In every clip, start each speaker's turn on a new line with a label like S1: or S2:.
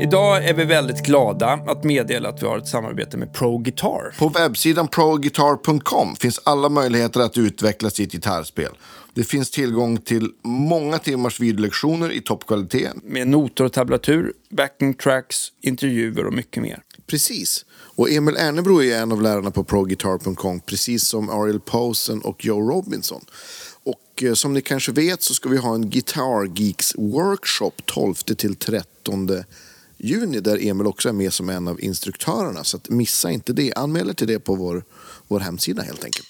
S1: Idag är vi väldigt glada att meddela att vi har ett samarbete med Pro Guitar.
S2: På webbsidan proguitar.com finns alla möjligheter att utveckla sitt gitarrspel. Det finns tillgång till många timmars videolektioner i toppkvalitet.
S1: Med noter och tablatur, backing tracks, intervjuer och mycket mer.
S2: Precis. Och Emil Ernebro är en av lärarna på proguitar.com, precis som Ariel Posen och Joe Robinson. Och eh, som ni kanske vet så ska vi ha en Guitar Geeks Workshop 12-13 juni där Emil också är med som en av instruktörerna. Så att missa inte det. Anmäl er till det på vår, vår hemsida helt enkelt.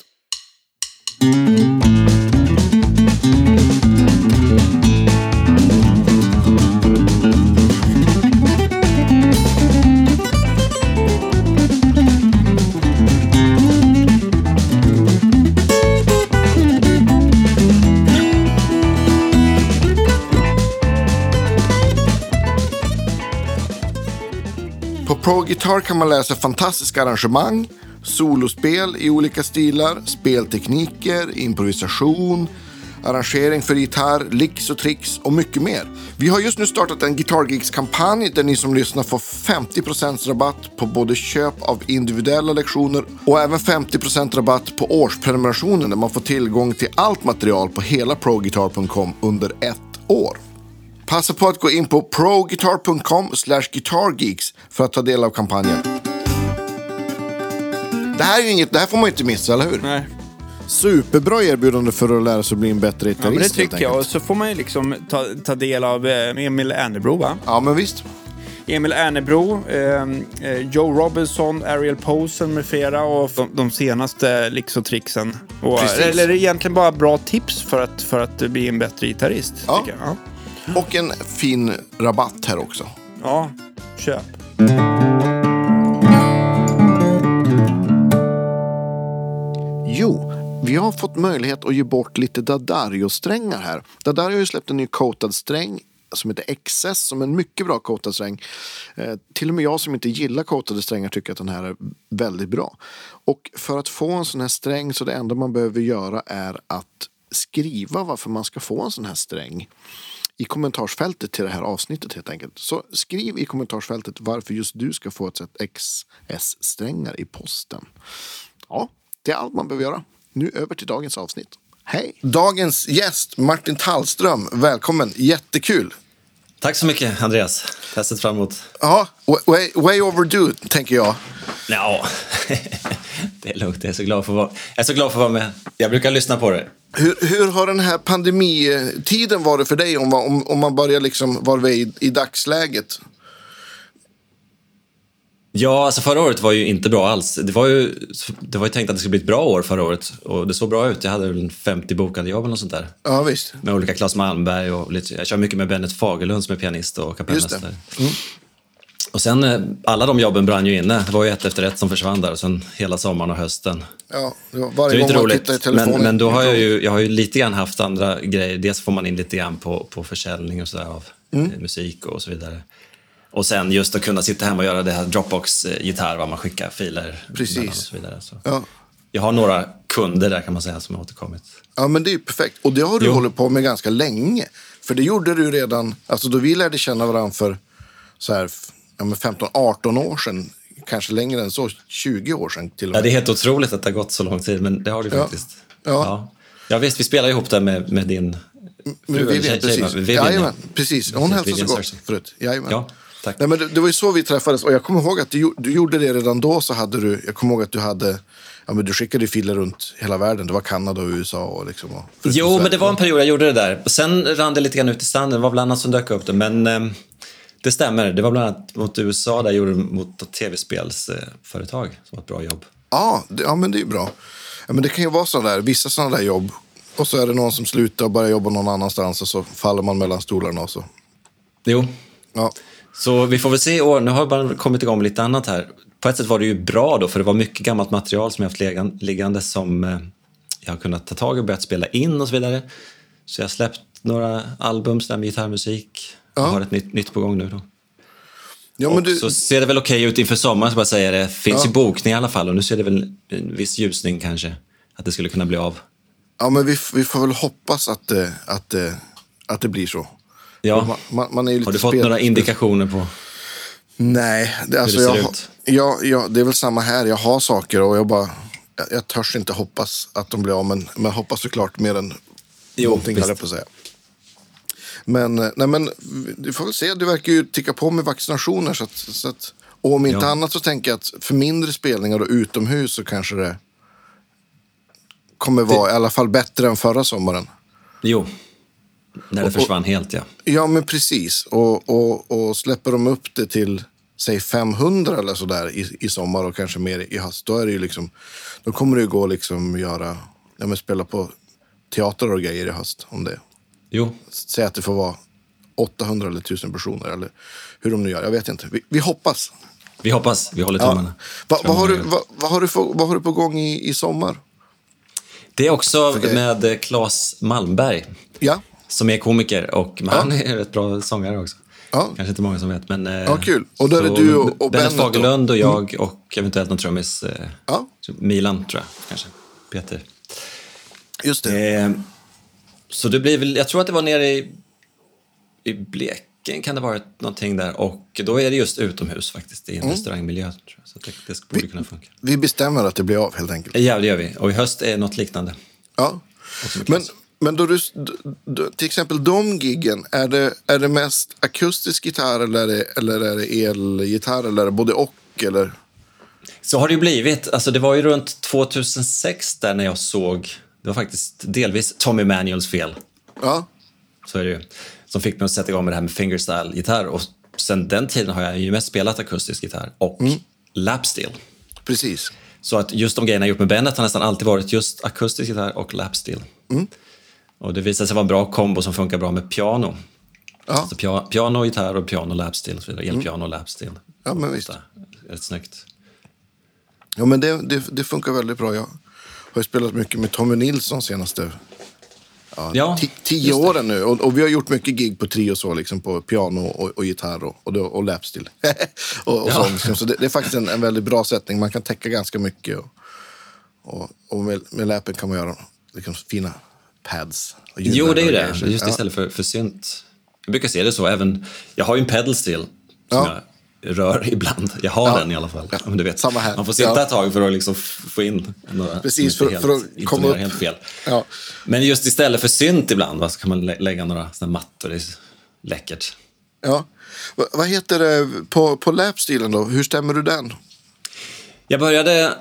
S2: På Pro Guitar kan man läsa fantastiska arrangemang, solospel i olika stilar, speltekniker, improvisation, arrangering för gitarr, licks och tricks och mycket mer. Vi har just nu startat en Guitar Geeks-kampanj där ni som lyssnar får 50% rabatt på både köp av individuella lektioner och även 50% rabatt på årsprenumerationen där man får tillgång till allt material på hela proguitar.com under ett år. Passa på att gå in på proguitar.com guitargeeks för att ta del av kampanjen. Det här, är ju inget, det här får man ju inte missa, eller hur?
S1: Nej,
S2: Superbra erbjudande för att lära sig bli en bättre gitarrist.
S1: ja, men det
S2: helt
S1: tycker jag. Och
S2: enkelt.
S1: så får man ju liksom ta, ta del av eh, Emil Ernebro, va?
S2: Ja, men visst.
S1: Emil Ernebro, eh, eh, Joe Robinson, Ariel Posen med flera och de, de senaste licks och tricksen. Och, eh,
S2: Precis.
S1: eller egentligen bara bra tips för att, för att bli en bättre gitarrist.
S2: Ja.
S1: tycker jag. Ja.
S2: Och en fin rabatt här också.
S1: ja, köp.
S2: Jo, vi har fått möjlighet att ge bort lite Dadario-strängar här. Dadario har ju släppt en ny coatad sträng som heter XS, som är en mycket bra coatad sträng. Eh, till och med jag som inte gillar coatade strängar tycker att den här är väldigt bra. Och för att få en sån här sträng så det enda man behöver göra är att skriva varför man ska få en sån här sträng i kommentarsfältet till det här avsnittet helt enkelt. Så skriv i kommentarsfältet varför just du ska få ett set XS-strängar i posten. Ja, det är allt man behöver göra. Nu över till dagens avsnitt. Hej! Dagens gäst, Martin Tallström. Välkommen, jättekul.
S3: Tack så mycket, Andreas. Jag har sett fram emot...
S2: Ja, wa- way, way overdue, tänker jag.
S3: Ja, det är lugnt. Jag är, så glad för att vara... jag är så glad för att vara med. Jag brukar lyssna på dig.
S2: Hur, hur har den här pandemitiden varit för dig om, man- om, om man börjar liksom var vi är i, i dagsläget?
S3: Ja, alltså förra året var ju inte bra alls. Det var ju, det var ju tänkt att det skulle bli ett bra år förra året och det såg bra ut. Jag hade väl en 50 bokade jobb eller något sånt där.
S2: Ja, visst.
S3: Med olika Claes Malmberg och lite, jag kör mycket med Bennet Fagerlund som är pianist och kapellmästare. Och sen, eh, alla de jobben brann ju inne. Det var ju ett efter ett som försvann där och sen hela sommaren och hösten.
S2: Ja, det var
S3: Så det
S2: varje
S3: är
S2: gång
S3: inte
S2: man tittar i
S3: roligt,
S2: telefonen.
S3: men, men då har jag, ju, jag har ju lite grann haft andra grejer. Dels får man in lite grann på, på försäljning och sådär av
S2: Mm.
S3: eh, musik och så vidare. Och sen just att kunna sitta hemma och göra det här Dropbox-gitarr, vad man skickar filer
S2: Precis.
S3: mellan Och så vidare. Så.
S2: Ja.
S3: Jag har några kunder där kan man säga som har återkommit.
S2: Ja, men det är ju perfekt. Och det har du
S3: Jo.
S2: hållit på med ganska länge. För det gjorde du redan, alltså då vi lärde känna varandra för så här, f- ja, men 15-18 år sedan. Kanske längre än så, 20 år sedan till och
S3: Ja,
S2: med.
S3: det är helt otroligt att det har gått så lång tid, men det har det ju
S2: Ja.
S3: faktiskt.
S2: Ja.
S3: ja, visst, vi spelar ihop där med, med din fru,
S2: Men
S3: eller
S2: Vivian,
S3: tjej- tjej,
S2: precis.
S3: va? Vivian,
S2: Jajamän, precis. Hon
S3: Precis,
S2: hälsade så
S3: Vivian
S2: gott
S3: Sargent.
S2: förut. Jajamän.
S3: Ja, tack.
S2: Nej, men det, det var ju så vi träffades. Och jag kommer ihåg att du, gjo- du gjorde det redan då. Så hade du, jag kommer ihåg att du hade... Ja, men du skickade ju filer runt hela världen. Det var Kanada och USA och liksom... Och förutom
S3: Jo,
S2: Sverige.
S3: men det var en period jag gjorde det där. Sen rann det lite grann ut i sanden. Det var bland annat som dök upp det. Men eh, det stämmer. Det var bland annat mot USA där jag gjorde det mot tv-spelsföretag som var ett bra jobb.
S2: Ja, det, ja men det är ju bra. Ja, men det kan ju vara sådana där, vissa sådana där jobb. Och så är det någon som slutar och börjar jobba någon annanstans och så faller man mellan stolarna och så.
S3: Jo,
S2: Ja,
S3: så vi får väl se i år. Nu har jag bara kommit igång med lite annat här. På ett sätt var det ju bra då, för det var mycket gammalt material som jag haft legan- liggande som eh, jag har kunnat ta tag i och börjat spela in och så vidare. Så jag har släppt några album så där med gitarrmusik. Jag har ett nytt, nytt på gång nu då.
S2: ja men du,
S3: Så ser det väl okej ut inför sommaren, ska jag säga det. Finns ju bokning i alla fall och nu ser det väl en viss ljusning kanske. Att det skulle kunna bli av.
S2: ja, men vi, f- vi får väl hoppas att, eh, att, eh, att det blir så.
S3: Ja.
S2: Man, man, man är ju lite
S3: Har du fått
S2: spel-
S3: några indikationer på...
S2: Nej, det, alltså,
S3: det ser
S2: jag,
S3: ut.
S2: jag, jag, det är väl samma här. Jag har saker och jag bara... Jag, jag törs inte hoppas att de blir av, men, men jag hoppas såklart mer än
S3: Jo,
S2: någonting, höll jag
S3: visst.
S2: på att säga. Men, eh, nej, men du får väl se. Du verkar ju ticka på med vaccinationer. Så att, så att, och om inte
S3: Ja.
S2: annat så tänker jag att för mindre spelningar och utomhus så kanske det kommer vara i alla fall bättre än förra sommaren.
S3: Jo. När det försvann helt, ja.
S2: Ja, men precis. Och, och, och släpper de upp det till säg 500 eller så där i, i sommar och kanske mer i höst, då, är det ju liksom, då kommer det ju gå liksom göra, ja, men spela på teater och grejer i höst. Om det.
S3: Jo,
S2: Säg att det får vara 800 eller 1000 personer eller hur de nu gör. Jag vet inte. Vi, vi hoppas.
S3: vi hoppas. Vi håller tummarna.
S2: Va, vad, har du,
S3: Tummarna.
S2: va, vad, har du för, vad har du på gång i, i sommar?
S3: Det är också
S2: grejer?
S3: med eh, Claes Malmberg,
S2: Ja,
S3: som är komiker. Och Han är en rätt bra sångare också.
S2: Ja.
S3: Kanske inte många som vet. Men, eh,
S2: Ja, kul. Och då är det
S3: så
S2: du och- och
S3: Bennet
S2: Bennet då? Mm.
S3: Fagerlund och jag och eventuellt någon trummis. eh,
S2: Ja.
S3: Milan, tror jag. Kanske. Peter.
S2: just det.
S3: Eh, så det blir väl, jag tror att det var nere i, i Blekinge kan det ha varit någonting där. Och då är det just utomhus faktiskt, i en restaurangmiljö. Tror jag. Så det, det borde kunna funka. Eh,
S2: Vi bestämmer att det blir av helt enkelt.
S3: Ja, det gör vi. Och i höst är något liknande.
S2: Ja. Men, men då du, d- d- till exempel de giggen, är det, är det mest akustisk gitarr eller är det, eller är det elgitarr eller är det både och? Eller?
S3: Så har det ju blivit. Alltså, det var ju runt 2006 där när jag såg, det var faktiskt delvis Tommy Manuels fel.
S2: Ja,
S3: Så är det ju. Som fick mig att sätta igång med det här med fingerstyle-gitarr. Och sen den tiden har jag ju mest spelat akustisk gitarr och lapsteel.
S2: precis.
S3: Så att just de grejerna jag gjort med Bennet har nästan alltid varit just akustisk gitarr och lapsteel.
S2: Mm.
S3: Och det visade sig vara en bra kombo som funkar bra med piano.
S2: Ja,
S3: Alltså pia- piano, gitarr och piano, lapsteel och så vidare. Elpiano, lapsteel.
S2: ja men visst.
S3: Så, Rätt snyggt.
S2: Ja, men det, det, det funkar väldigt bra. Jag har ju spelat mycket med Tommy Nilsson senaste
S3: Ja,
S2: ti- tio åren nu. Och, och vi har gjort mycket gig på trio så, liksom på piano och, och gitarr och, och, då- och lapstil. och, och
S3: Ja.
S2: sånt, liksom. Så det, det är faktiskt en, en väldigt bra sättning. Man kan täcka ganska mycket. Och, och, och med, med läpen kan man göra liksom, fina pads. och ljud
S3: jo det är ju
S2: och
S3: det.
S2: grejer. Så-
S3: Just
S2: ja.
S3: istället för, för synt. Jag brukar se det så. Även, jag har ju en pedal steel som
S2: Ja.
S3: jag rör ibland. Jag har den i alla fall.
S2: Ja.
S3: Men du vet,
S2: Samma här.
S3: Man får sitta
S2: Ja.
S3: ett tag för att liksom f- få in några
S2: Precis,
S3: som
S2: för-
S3: inte
S2: för att
S3: helt, inte
S2: komma
S3: gör
S2: upp.
S3: helt fel.
S2: Ja.
S3: Men just istället för synt ibland va, så kan man lä- lägga några såna mattor. Det är läckert.
S2: Ja. Va- Vad heter det på, på lapstilen då? Hur stämmer du den?
S3: Jag började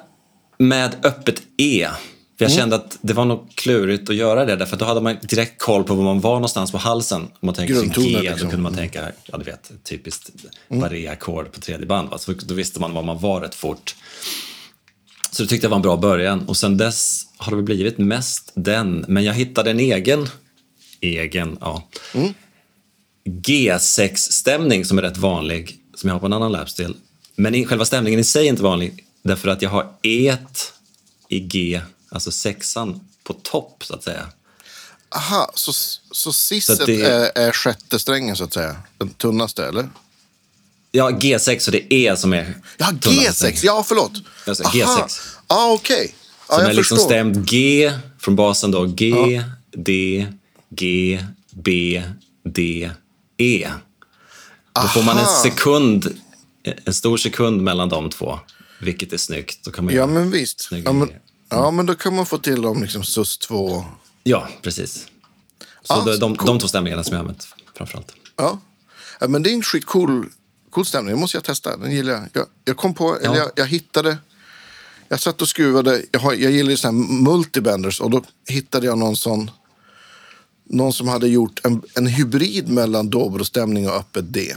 S3: med öppet E. För
S2: Mm.
S3: jag kände att det var nog klurigt att göra det, därför att då hade man direkt koll på var man var någonstans på halsen. Om man tänker sig
S2: Grundtonen,
S3: G,
S2: liksom. Mm.
S3: då kunde man tänka, ja du vet, typiskt barré-ackord på tredje band. Va? Så då visste man var man var rätt fort. Så det tyckte jag var en bra början. Och sen dess har det väl blivit mest den, men jag hittade en egen, egen, ja. G6-stämning som är rätt vanlig, som jag har på en annan lapstil. Men i, själva stämningen i sig är inte vanlig, därför att jag har E i G, alltså sexan, på topp, så att säga.
S2: Aha, så, så sisset
S3: det-
S2: är, är sjätte strängen så att säga? Den tunnaste eller?
S3: Ja, G6, så det är E som är
S2: Ja,
S3: tunnare
S2: G6.
S3: stämning.
S2: Ja, förlåt.
S3: Jag sa
S2: Aha.
S3: G6.
S2: Ja, okej. Ja,
S3: Som
S2: jag
S3: är liksom
S2: förstår.
S3: stämd G från basen då. G, D, G, B, D, E. Då får man en
S2: Aha.
S3: sekund, en stor sekund mellan de två. Vilket är snyggt. Då kan man
S2: Ja,
S3: göra-
S2: men visst.
S3: Snygga
S2: Ja men,
S3: grejer.
S2: ja, men då kan man få till dem liksom sus 2.
S3: ja precis. Så
S2: Ah,
S3: de, de, de två stämningarna som jag har använt framförallt.
S2: Ja. ja, men det är en skitcool cool stämning. Det måste jag testa. Den gillar jag. Jag, jag kom på, eller jag, jag hittade. Jag satt och skruvade. Jag, har, jag gillar ju såna här multibenders och då hittade jag någon sån. Någon som hade gjort en, en hybrid mellan dobro-stämning och öppet D.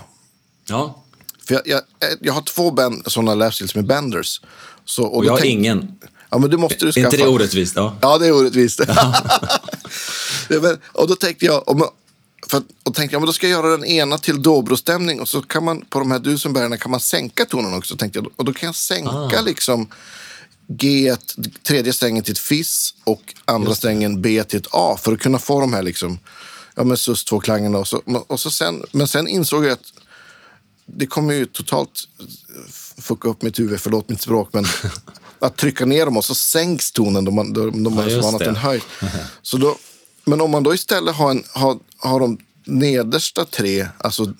S3: Ja,
S2: För jag, jag, jag har två ben, sådana lapsils med benders. Så, och
S3: och
S2: då
S3: jag har
S2: tänk-
S3: ingen.
S2: Ja, men det måste du
S3: Är
S2: skaffa.
S3: inte det orättvist? Ja.
S2: Ja, det är orättvist. ja, men, och då tänkte jag, om, för, att- och tänkte jag men då ska jag göra den ena till dobrostämning och så kan man på de här dusenbergarna kan man sänka tonen också. Tänkte jag. Och då kan jag
S3: Ah.
S2: sänka liksom G, tredje strängen till ett fiss och andra strängen B till ett A för att kunna få de här liksom, ja, men sus 2 klangerna och så, och så sen, Men sen insåg jag att det kommer ju totalt eh, fucka upp mitt huvud, förlåt mitt språk, men att trycka ner dem och så sänks tonen då man, då, då man är så
S3: just
S2: van att
S3: det.
S2: den höjs. Så då, men om man då istället har, en, har, har de nedersta tre, alltså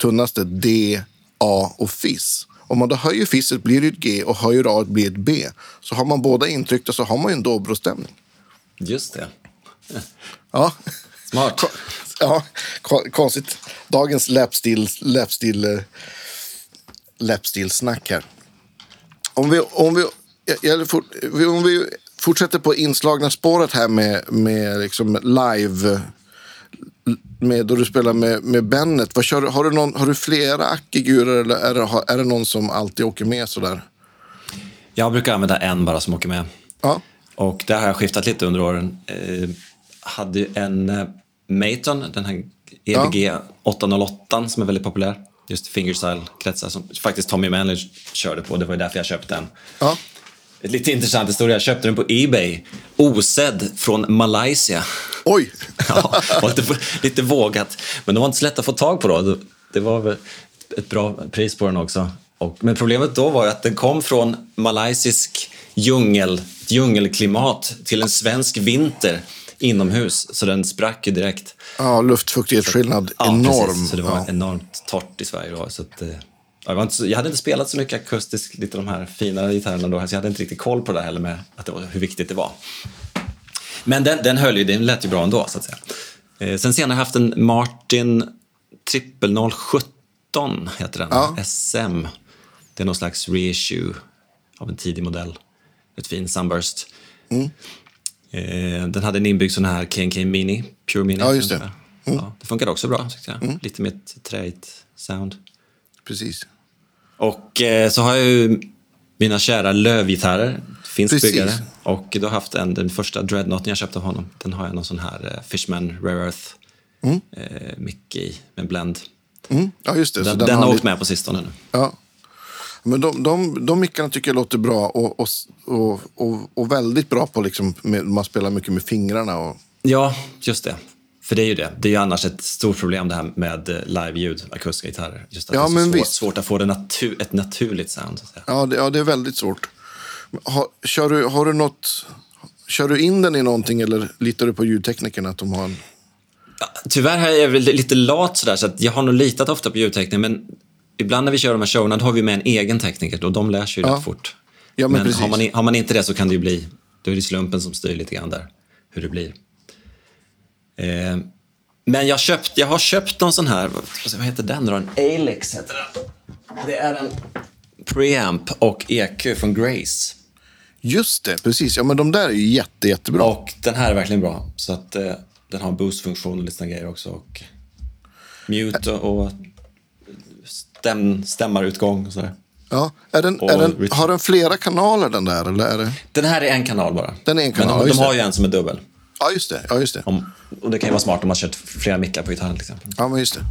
S2: tunnaste D, A och fiss. Om man då höjer fisset blir det ett G och höjer A blir ett B. Så har man båda intryckta så har man ju en dobro-stämning.
S3: Just det.
S2: Ja.
S3: Smart.
S2: Ko- ja, ko- konstigt. Dagens läppstil, läppstil, eh, läppstilsnack här. Om vi, om, vi, jag- jag, fort- vi- om vi fortsätter på inslagna spåret här med, med liksom live, med, då du spelar med, med Bennet. Vad kör, du- har, du någon, har du flera ackigurer eller är det, har- är det någon som alltid åker med sådär?
S3: Jag brukar använda en bara som åker med.
S2: Ja,
S3: Och där har jag skiftat lite under åren. Eh, hade ju en eh, Maton, den här E EBG 808 som är väldigt populär. Just fingerstyle-kretsar som faktiskt Tommy Manley körde på. Det var ju därför jag köpte den.
S2: ja.
S3: Ett lite intressant historia. Jag köpte den på E Ebay. Osedd från Malaysia.
S2: Oj!
S3: Ja, var lite, lite vågat. Men de var inte så lätta att få tag på då. Det var väl ett bra pris på den också. Och, men problemet då var ju att den kom från malaysisk djungel, djungelklimat till en svensk vinter inomhus. Så den sprack ju direkt.
S2: Ja, luftfuktighetsskillnad
S3: Ja,
S2: enorm.
S3: Precis, så det var
S2: ja.
S3: enormt torrt i Sverige då. Så att, eh, ja, jag, var inte så, jag hade inte spelat så mycket akustisk, lite de här finare gitarrerna då, så jag hade inte riktigt koll på det här heller med att det var, hur viktigt det var. Men den, den höll ju, den lät ju bra ändå så att säga. Eh, sen senare har jag haft en Martin 00017 heter den,
S2: Ja.
S3: SM. Det är någon slags reissue av en tidig modell. Ett fint Sunburst. Eh, den hade en inbyggd sån här KNK Mini, Pure Mini.
S2: Ja, just det. Mm.
S3: ungefär. Ja, det funkade också bra, tyckte jag. Lite mer ett träigt sound.
S2: precis.
S3: Och eh, så har jag ju mina kära lövgitarrer. Finns
S2: Precis.
S3: byggare. Och då har jag haft en, den första dreadnoughten jag köpte av honom. Den har jag någon sån här eh, Fishman Rare Earth eh, mick i, med blend.
S2: Mm. Ja, just det. så
S3: Den, den har
S2: har
S3: åkt
S2: lite-
S3: med på sistone nu.
S2: Ja. Men de, de, de mickarna tycker jag låter bra och, och, och, och, och väldigt bra på liksom, med, man spelar mycket med fingrarna. Och,
S3: Ja, just det. För det är ju det. Det är ju annars ett stort problem det här med eh, live-ljud, akustiska gitarrer. Just att
S2: Ja,
S3: det är så
S2: men
S3: svårt,
S2: visst.
S3: svårt att få det natu- ett naturligt sound. Så att säga.
S2: ja, det, ja, det är väldigt svårt. Har, kör du, har du något... Kör du in den i någonting eller litar du på ljudteknikerna att de har en...
S3: Tyvärr här är jag väl lite lat sådär, så att jag har nog litat ofta på ljudtekniker, men ibland när vi kör de här showerna, då har vi med en egen tekniker och de lär sig ju rätt fort.
S2: Ja, men precis.
S3: har, man, i- har man inte det så kan det ju bli, då är det slumpen som styr lite grann där, hur det blir. Eh, men jag, köpt, jag har köpt någon sån här, vad ska jag säga, vad heter den då? En Alex heter den. Det är en preamp och EQ från Grace.
S2: Just det, precis. Ja, men de där är ju jätte, jättebra.
S3: Och den här är verkligen bra. Så att eh, den har en boost-funktion och lite såna grejer också. Och mute och, och stäm, stämmarutgång och sådär.
S2: Ja. Är den, är
S3: Och
S2: den,
S3: Richard.
S2: har den flera kanaler den där? Eller är det...
S3: Den här är en kanal bara.
S2: Den är en kanal,
S3: Men de,
S2: just
S3: de
S2: det.
S3: har ju en som är dubbel.
S2: Ja, just det. Ja, just det.
S3: Om, och det kan ju vara smart om man kört flera mickar på gitarren till exempel.
S2: Ja, men just det.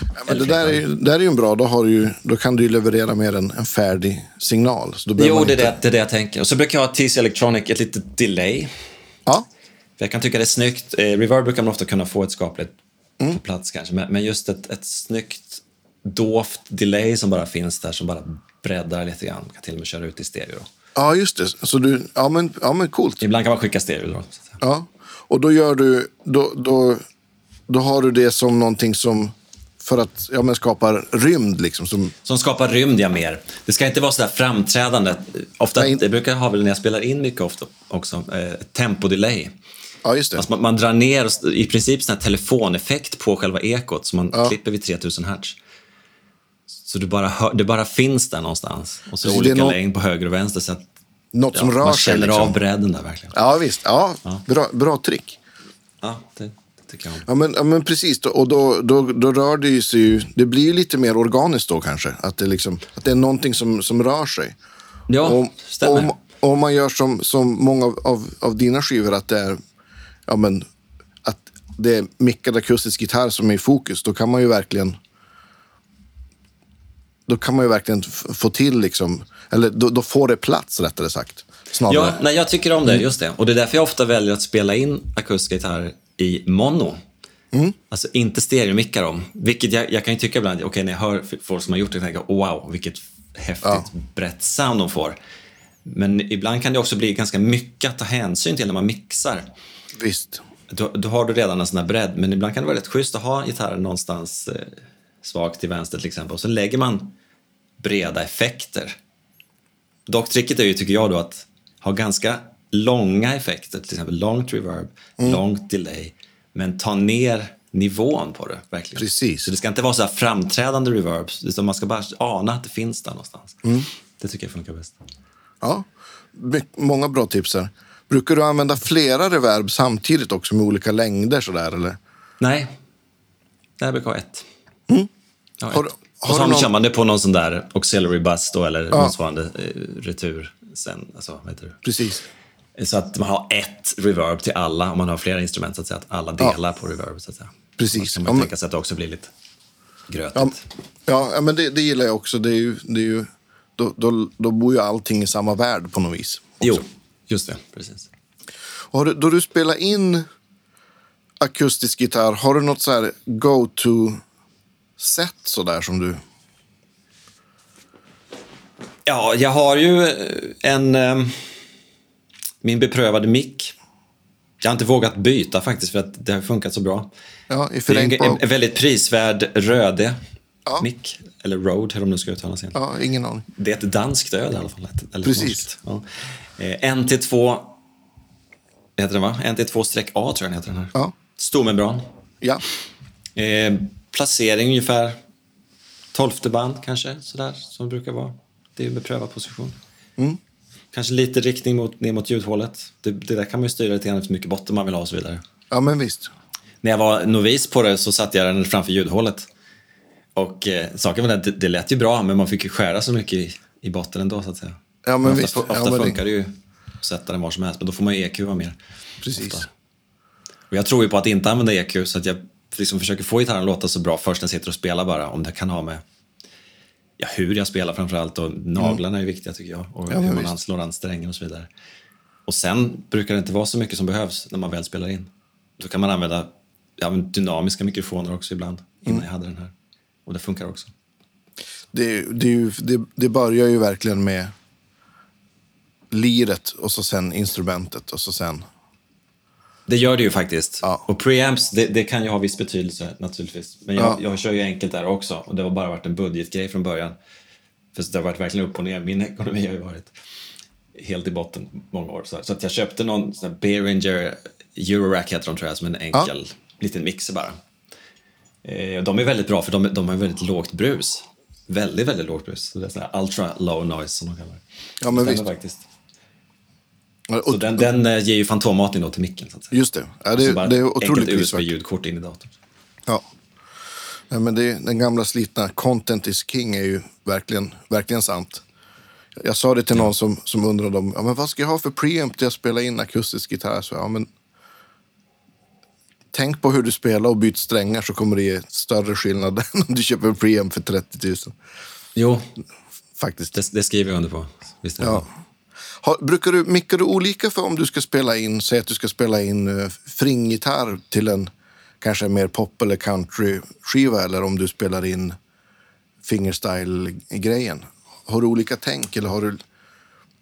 S2: Ja, men det där är, ju- det där är ju en bra. Då, har du, ju- då kan du ju leverera mer en, en färdig signal. Så då behöver
S3: Jo,
S2: man
S3: det är
S2: inte-
S3: det, det är det jag tänker. Och så brukar jag ha TC Electronic, ett litet delay.
S2: Ja,
S3: För jag kan tycka det är snyggt. Eh, reverb brukar man ofta kunna få ett skapligt på plats kanske. Men, men just ett, ett snyggt dovt delay som bara finns där, som bara breddar lite grann. Man kan till och med köra ut i stereo. Då.
S2: ja just det. Så du, ja, men, ja, men coolt.
S3: Ibland kan man skicka stereo då. så att säga.
S2: Ja. Och då gör du... Då, då, då har du det som någonting som... För att ja, men skapar rymd liksom. Som,
S3: Som skapar rymd, ja, mer. Det ska inte vara så där framträdande. Ofta,
S2: Nej, inte-
S3: Det brukar jag ha väl när jag spelar in mycket ofta också, eh, tempodelay.
S2: ja, just det.
S3: Alltså man, man drar ner och st- i princip sån här telefoneffekt på själva ekot, så man klipper vid 3000 hertz. Så du bara hör, det bara finns där någonstans. Och så
S2: Precis, det
S3: olika
S2: är nå-
S3: längd på höger och vänster. Så att,
S2: Något
S3: ja,
S2: som rör
S3: man
S2: sig.
S3: känner
S2: Liksom.
S3: av bredden där verkligen. Ja,
S2: Ja, visst. Ja, Bra, bra trick.
S3: det, det tycker jag om.
S2: Ja, men, ja, men precis. Då, och då, då, då rör det ju sig ju... Det blir ju lite mer organiskt då kanske. Att det, liksom, att det är någonting som, som rör sig.
S3: Ja,
S2: om,
S3: stämmer.
S2: om, om man gör som, som många av, av, av dina skivor, att det är, ja, men, att det är mickad akustisk gitarr som är i fokus, då kan man ju verkligen då kan man ju verkligen f- få till, liksom, eller då, då får det plats rättare sagt.
S3: Ja,
S2: Snarare.
S3: nej, jag tycker om det, just det. Och det är därför jag ofta väljer att spela in akustiska gitarrer i mono. Alltså inte stereomickar om. Vilket jag, jag kan ju tycka ibland, okej när jag hör f- folk som har gjort det, tänker jag, wow, vilket häftigt brett sound de får. Men ibland kan det också bli ganska mycket att ta hänsyn till när man mixar.
S2: Visst.
S3: Då, då har du redan en sån här bredd, men ibland kan det vara rätt schysst att ha gitarren någonstans eh, svagt till vänster till exempel. Och så lägger man breda effekter. Dock tricket är ju, tycker jag då, att ha ganska långa effekter, till exempel långt reverb, långt delay, men ta ner nivån på det. verkligen.
S4: Precis.
S3: Så det ska inte vara så här framträdande reverbs, utan man ska bara ana att det finns där någonstans. Det tycker jag funkar bäst.
S2: Ja, my- många bra tips här. Brukar du använda flera reverb samtidigt också med olika längder sådär eller?
S3: Nej, det här brukar ha ett. Ja, ett.
S2: Mm. Har du-
S3: och
S2: har
S3: så
S2: du
S3: har
S2: någon-
S3: kör man det på någon sån där auxiliary bus då, eller motsvarande eh, retur sen. Alltså, vad heter det?
S2: Precis.
S3: Så att man har ett reverb till alla, om man har flera instrument, så att, säga, att alla delar på reverb. Så att säga.
S2: Precis.
S3: Så kan
S2: Ja,
S3: man
S2: men-
S3: tänka sig att det också blir lite grötigt.
S2: Ja, ja ja, men det, det gillar jag också. Det är ju, det är ju, då, då, då bor ju allting i samma värld på något vis.
S3: jo, just det. Precis.
S2: Har du, då du spelar in akustisk gitarr, har du något så här go-to-set sådär som du...
S3: Ja, jag har ju eh, en... eh, Min beprövade mick. Jag har inte vågat byta faktiskt, för att det har funkat så bra.
S2: Ja, i
S3: Det är
S2: förlängd
S3: en, en,
S2: på...
S3: en väldigt prisvärd Röde
S2: Ja.
S3: mick, eller Rode, hur de nu ska uttalas igen.
S2: Ja, ingen aning.
S3: Det är ett danskt öl i alla fall. Ett, eller
S2: Precis.
S3: norskt, Ja. Eh, NT2, heter den va? NT2-A tror jag den heter. Den här.
S2: Ja.
S3: Stommembran.
S2: Ja,
S3: Eh, placering ungefär tolfte band kanske, sådär, som det brukar vara. Det är ju beprövad position.
S2: Mm.
S3: Kanske lite riktning mot, ner mot ljudhålet. Det, det där kan man ju styra lite grann efter hur mycket botten man vill ha och så vidare.
S2: ja men visst.
S3: När jag var novis på det så satte jag den framför ljudhålet. Och eh, saken var den att det, det lät ju bra, men man fick ju skära så mycket i, i botten ändå så att säga.
S2: Ja, men
S3: ofta
S2: visst.
S3: ofta
S2: Ja, men det-
S3: funkar det ju att sätta den var som helst, men då får man ju EQ mer.
S2: Precis.
S3: Ofta. Och jag tror ju på att inte använda EQ, så att jag liksom försöker få gitarren att låta så bra först när jag sitter och spelar bara, om det kan ha med ja, hur jag spelar framför allt och naglarna är viktiga tycker jag och
S2: men
S3: hur man
S2: visst.
S3: an- slår an strängen och så vidare. Och sen brukar det inte vara så mycket som behövs när man väl spelar in. Då kan man använda ja, men dynamiska mikrofoner också ibland, innan
S2: Mm.
S3: jag hade den här. Och det funkar också.
S2: Det, det, är ju, det, det börjar ju verkligen med liret och så sen instrumentet och så sen...
S3: Det gör det ju faktiskt.
S2: Ja.
S3: Och preamps, det, det kan ju ha viss betydelse naturligtvis. Men jag,
S2: Ja.
S3: jag kör ju enkelt där också och det har bara varit en budgetgrej från början. För det har varit verkligen upp och ner. Min ekonomi har ju varit helt i botten många år. Så, så att jag köpte någon sån här Behringer Eurorack heter de tror jag, som en enkel liten mixer bara. Eh, de är väldigt bra för de, de har ju väldigt lågt brus. Väldigt, väldigt lågt brus. Så det är sån här ultra low noise som de kallar det.
S2: Ja, men
S3: Det stämmer
S2: visst.
S3: Faktiskt.
S2: Och,
S3: Så den, den eh, ger ju fantommatning då till micken. Så att säga.
S2: just det. Ja,
S3: Så
S2: det,
S3: bara
S2: det är
S3: ett
S2: otroligt
S3: enkelt
S2: prisvärt.
S3: USB-ljudkort in i datorn.
S2: Ja. Ja, men det, är- den gamla slitna content is king är ju verkligen, verkligen sant. Jag sa det till någon som, som undrade om ja, men vad ska jag ha för preamp till att spela in akustisk gitarr. Så, jag, ja, men, tänk på hur du spelar och byt strängar så kommer det ge större skillnad än om du köper en preamp för 30 000.
S3: Jo,
S2: Faktiskt.
S3: det, det skriver jag under på. Visst är det.
S2: Ja. Har, brukar du, mickar du olika för om du ska spela in, säg att du ska spela in uh, fringgitarr till en kanske en mer pop eller country-skiva eller om du spelar in fingerstyle-grejen? Har du olika tänk eller har du...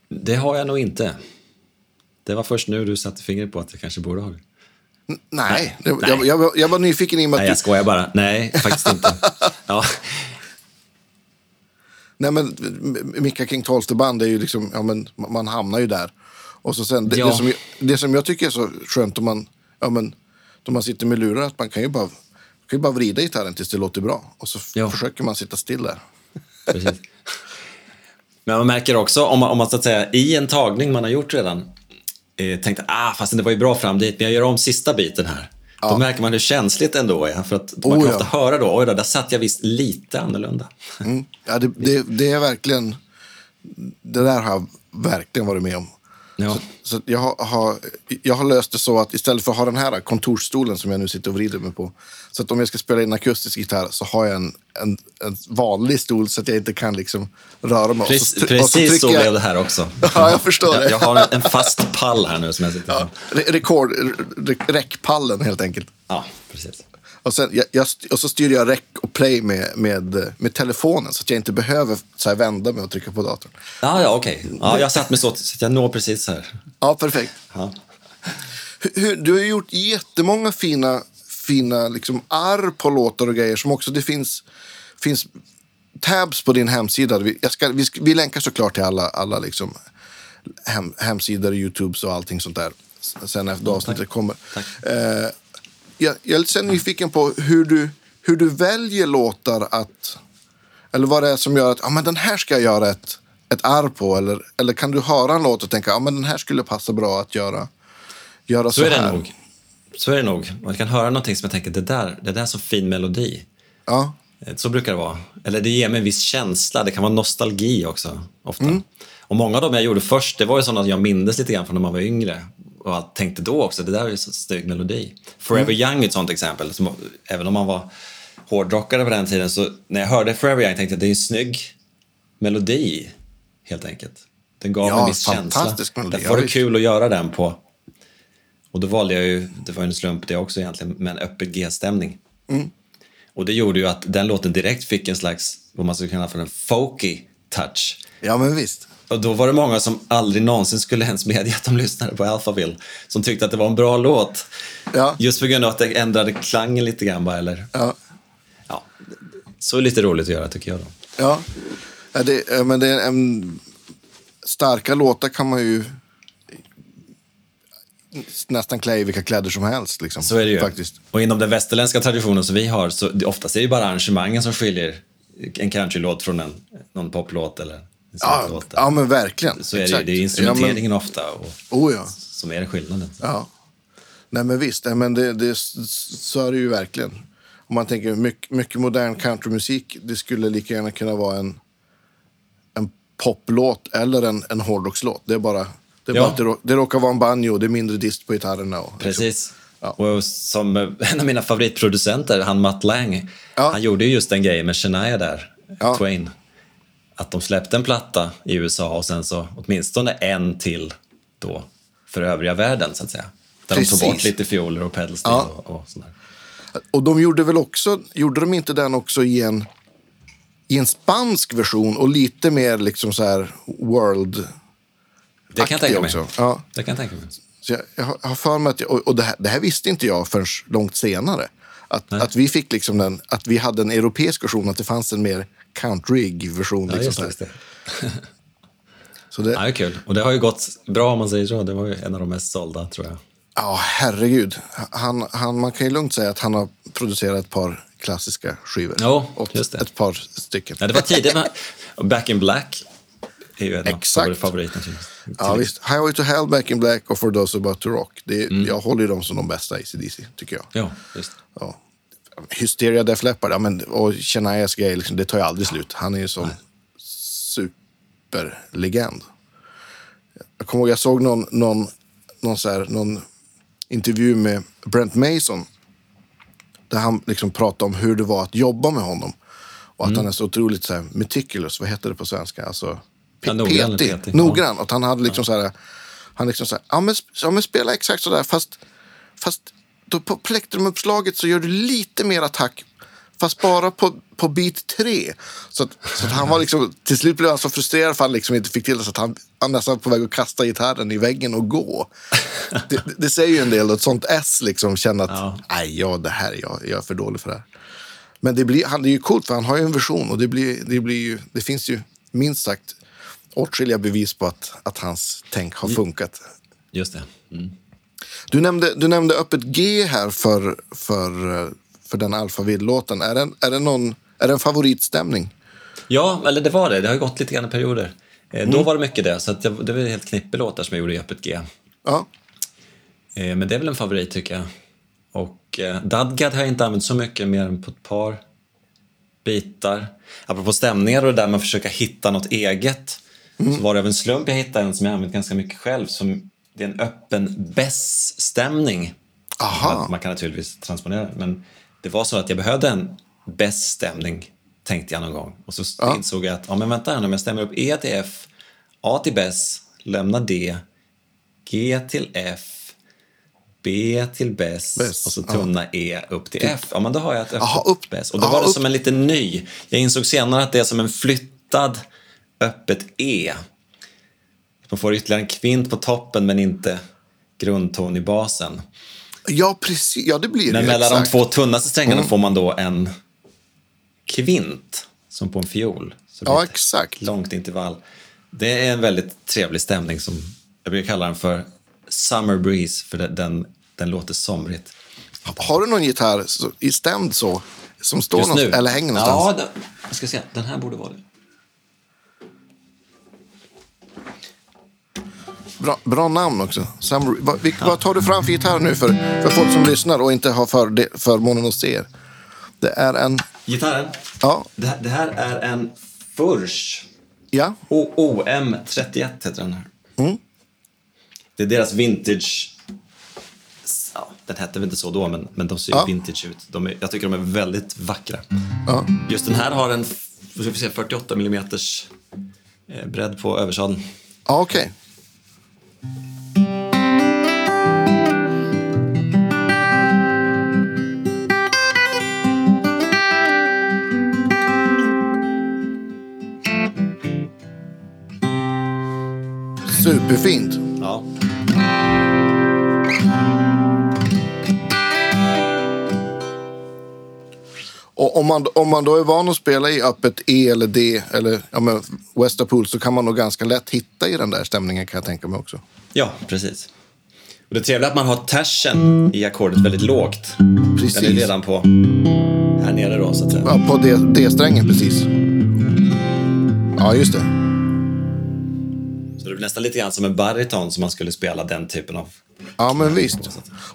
S3: det har jag nog inte. Det var först nu du satte fingret på att jag kanske borde ha det.
S2: Nej, det- Jag, jag, var- jag var nyfiken i och med
S3: Nej,
S2: att
S3: jag
S2: du,
S3: skojar bara. Nej, faktiskt inte. Ja,
S2: nej, men, Micka King Tolsterband är ju liksom, ja, men, man man hamnar ju där. Och så sen, det,
S3: Ja.
S2: det, som, jag- det som jag tycker är så skönt om man, ja, men, då man sitter med lurar att man kan ju bara, man kan ju bara vrida gitarren tills det låter bra. Och så f-
S3: Ja.
S2: försöker man sitta still där.
S3: precis. Men man märker också, om man, om man så att säga, i en tagning man har gjort redan, eh, tänkte ah, fast det var ju bra fram dit, men jag gör om sista biten här. Då märker man hur känsligt ändå är, för att man
S2: Oh,
S3: kan
S2: ja.
S3: ofta höra då, oj då, där satt jag visst lite annorlunda.
S2: Ja, det, det, det är verkligen... Det där har jag verkligen varit med om.
S3: Ja.
S2: Så att jag, har- har, jag har löst det så att istället för att ha den här kontorsstolen som jag nu sitter och vrider mig på. Så att om jag ska spela in akustisk gitarr så har jag en, en, en vanlig stol så att jag inte kan liksom röra mig.
S3: Precis,
S2: och så, try- och
S3: precis så
S2: trycker jag-
S3: blev det här också.
S2: Ja, jag förstår det.
S3: Jag, jag har en, en fast pall här nu som jag sitter på.
S2: Re- Rekord, re- räckpallen helt enkelt.
S3: Ja, precis.
S2: Och, sen, jag, jag, st- och så styr jag räck och play med, med, med telefonen så att jag inte behöver så här vända mig och trycka på datorn.
S3: Ja, ja, okej. Ja, jag satt mig så, så att jag når precis här.
S2: Ja, perfekt.
S3: Ja.
S2: Hur, du har gjort jättemånga fina fina liksom, arr på låtar och grejer som också det finns, finns tabs på din hemsida. Vi, jag ska, vi, sk- vi länkar såklart till alla, alla liksom, hem, hemsidor, Youtubes och allting sånt där s- sen efter avsnittet kommer. Eh, jag, jag är lite så här nyfiken på hur du, hur du väljer låtar att... Eller vad det är som gör att ah, men den här ska jag göra ett, ett arr på. Eller, eller kan du höra en låt och tänka ah, men den här skulle passa bra att göra, göra så,
S3: Så är det
S2: här.
S3: nog. Så är det nog. Man kan höra någonting som jag tänker, det där, det där är så fin melodi.
S2: Ja.
S3: Eh, Så brukar det vara. Eller det ger mig en viss känsla. Det kan vara nostalgi också, ofta.
S2: Mm.
S3: Och många av dem jag gjorde först, det var ju sådana jag mindes lite grann från när man var yngre. Och jag tänkte då också, det där är ju så snygg melodi. Forever
S2: Mm.
S3: Young är ett sånt exempel. Som, även om man var hårdrockare på den tiden, så när jag hörde Forever Young tänkte jag, det är en snygg melodi, helt enkelt. Den gav
S2: Ja,
S3: mig en viss känsla.
S2: fantastisk melodi,
S3: Därför var
S2: ja,
S3: det
S2: visst.
S3: kul att göra den på. Och då valde jag ju, det var ju en slump det också egentligen, men öppen G-stämning. Och det gjorde ju att den låten direkt fick en slags, vad man skulle kalla för en folky touch.
S2: ja, men visst.
S3: Och då var det många som aldrig någonsin skulle ens medge att de lyssnade på Alphaville, som tyckte att det var en bra låt.
S2: Ja.
S3: Just på grund av att det ändrade klangen lite grann bara, eller?
S2: Ja.
S3: Ja. Så är lite roligt att göra tycker jag då.
S2: Ja, ja det, eh, men det är en, starka låtar kan man ju nästan klä i vilka kläder som helst. Liksom,
S3: Så är det ju.
S2: Faktiskt.
S3: Och inom den västerländska traditionen som vi har, så det- oftast är det ju bara arrangemangen som skiljer en countrylåt från en, någon poplåt eller en
S2: Ja,
S3: sånglåt.
S2: ja, men verkligen.
S3: så är det ju,
S2: Exakt.
S3: det är
S2: Ja,
S3: instrumenteringen ofta och,
S2: men, oh ja.
S3: som är skillnaden.
S2: ja. Nej, men visst. Nej, men det, det, så är det ju verkligen. Om man tänker mycket, mycket modern countrymusik, det skulle lika gärna kunna vara en, en poplåt eller en, en hårdrockslåt. Det är bara... Det, är
S3: Ja.
S2: bara att det, rå- det råkar vara en banjo, det är mindre dist på gitarrerna. Och,
S3: Precis.
S2: Liksom. Ja.
S3: Och som eh, en av mina favoritproducenter, han Matt Lang,
S2: Ja.
S3: han gjorde ju just den grejen med Shania där,
S2: Ja.
S3: Twain. Att de släppte en platta i USA och sen så åtminstone en till då för övriga världen så att säga. Där
S2: Precis.
S3: de tog bort lite fioler och pedalsteel
S2: Ja.
S3: och, och sådär.
S2: Och de gjorde väl också, gjorde de inte den också i en, i en spansk version och lite mer liksom så här world
S3: Det kan jag tänka mig.
S2: också. Ja,
S3: Det kan jag tänka mig.
S2: så jag, jag har- jag har för mig att, jag, och och det här, det här visste inte jag förrän långt senare. Att, att vi fick liksom den, att vi hade en europeisk version, att det fanns en mer countryig version.
S3: Ja,
S2: liksom
S3: just
S2: så här.
S3: det.
S2: så
S3: Ja,
S2: det,
S3: det är kul. Och det har ju gått bra om man säger så. Det var ju en av de mest sålda tror jag.
S2: ja, herregud. Han, han, man kan ju lugnt säga att han har producerat ett par klassiska skivor.
S3: Ja,
S2: Och
S3: just det.
S2: Ett par stycken.
S3: Ja, det var tidigt med och Back in Black. är ju en av
S2: Exakt.
S3: favoriterna. till-
S2: Ja, visst. Highway to Hell, Back in Black och For Those About to Rock. Det är,
S3: Mm.
S2: Jag håller ju dem som de bästa i DC, tycker jag.
S3: Ja, just
S2: Ja. Hysteria Def Leppard ja, men, och Shanias grej, liksom, det tar ju aldrig slut. Han är ju som superlegend. Jag kommer ihåg, jag såg någon, någon, någon, så här, någon intervju med Brent Mason där han liksom pratade om hur det var att jobba med honom. Och
S3: Mm.
S2: att han är så otroligt så här, meticulous, vad heter det på svenska? Alltså,
S3: Ja, noggrann,
S2: petig.
S3: petig.
S2: Noggrann. Och att han hade liksom så här, han liksom så här, ja men, sp- ja, men spela exakt så där fast, fast då på plektrumuppslaget så gör du lite mer attack fast bara på, på bit tre. Så, att, så att han var liksom, till slut blev han så frustrerad för han liksom inte fick till det så att han, han nästan var på väg att kasta gitarren i väggen och gå. Det, det- det säger ju en del, och ett sånt S liksom känna att
S3: Ja.
S2: nej, ja, det här, jag, jag är för dålig för det här. Men det, blir, han, det är ju coolt för han har ju en version och det, blir, det, blir ju, det finns ju minst sagt åtskilliga bevis på att, att hans tänk har
S3: Mm.
S2: funkat.
S3: Just det. Mm.
S2: Du nämnde, du nämnde öppet G här för, för, eh, för den Alphaville-låten. Är, den- är, det någon- är det en favoritstämning?
S3: Ja, eller det var det. Det har ju gått lite grann i perioder. Eh, Då var det mycket det, så att det, det var ett helt knippe låtar som jag gjorde i öppet G.
S2: Ja,
S3: Eh, Men det är väl en favorit tycker jag. Och eh, Dadgad har jag inte använt så mycket mer än på ett par bitar. Apropå stämningar och det där med att försöka hitta något eget. Så var det av en slump jag hittade en som jag använt ganska mycket själv. Som, det är en öppen bäss-stämning.
S2: Aha.
S3: Man kan naturligtvis transponera det, men det var så att jag behövde en bäss-stämning tänkte jag någon gång. Och så insåg jag att, ja men vänta här nu, om jag stämmer upp E till F, A till bäss, lämnar D, G till F, B till bäst
S2: Bäst,
S3: och så tunna E upp till F. Ja, men då har jag ett öppet
S2: Jaha, upp.
S3: bäst. Och då
S2: Ja,
S3: var det
S2: upp.
S3: som en liten ny. Jag insåg senare att det är som en flyttad öppet E. Man får ytterligare en kvint på toppen men inte grundton i basen.
S2: Ja, precis. Ja, det blir
S3: Men
S2: det.
S3: mellan
S2: exakt. Mm.
S3: de två tunnaste strängarna får man då en kvint, som på en fiol. Så det blir
S2: Ja,
S3: ett
S2: exakt.
S3: Långt intervall. Det är en väldigt trevlig stämning som jag brukar kalla den för Summer Breeze, för den, den, den låter somrigt.
S2: Har du någon gitarr så- i stämd så? Som står
S3: Just nu.
S2: någonstans, eller hänger någonstans?
S3: Ja, den, jag ska se. Den här borde vara det.
S2: Bra, bra namn också. Summer, vad, vilk, vad tar du fram för gitarr nu för, för folk som lyssnar och inte har för, de, förmånen att se er? Det är en...
S3: Gitarren.
S2: Ja,
S3: Det, här- det här är en Furch
S2: ja.
S3: O- OM31 heter den här.
S2: Mm.
S3: Det är deras vintage... Ja, den hette väl inte så då, men, men de ser ju
S2: Ja.
S3: vintage ut. De är, jag tycker de är väldigt vackra.
S2: ja.
S3: Just den här har en f- vad ska vi se, 48 mm bredd på översadeln.
S2: ja okej. Superfint.
S3: Ja.
S2: Och om man, om man då är van att spela i öppet E eller D eller ja, men Westerpool så kan man nog ganska lätt hitta i den där stämningen kan jag tänka mig också.
S3: ja, precis. Och det trevliga är att man har tersen i ackordet väldigt lågt. Den är
S2: Precis.
S3: redan på här nere då, så att säga.
S2: Ja, på D- D-strängen precis. Ja, just det.
S3: Så det blir nästan lite grann som en bariton som man skulle spela den typen av
S2: Ja, men visst.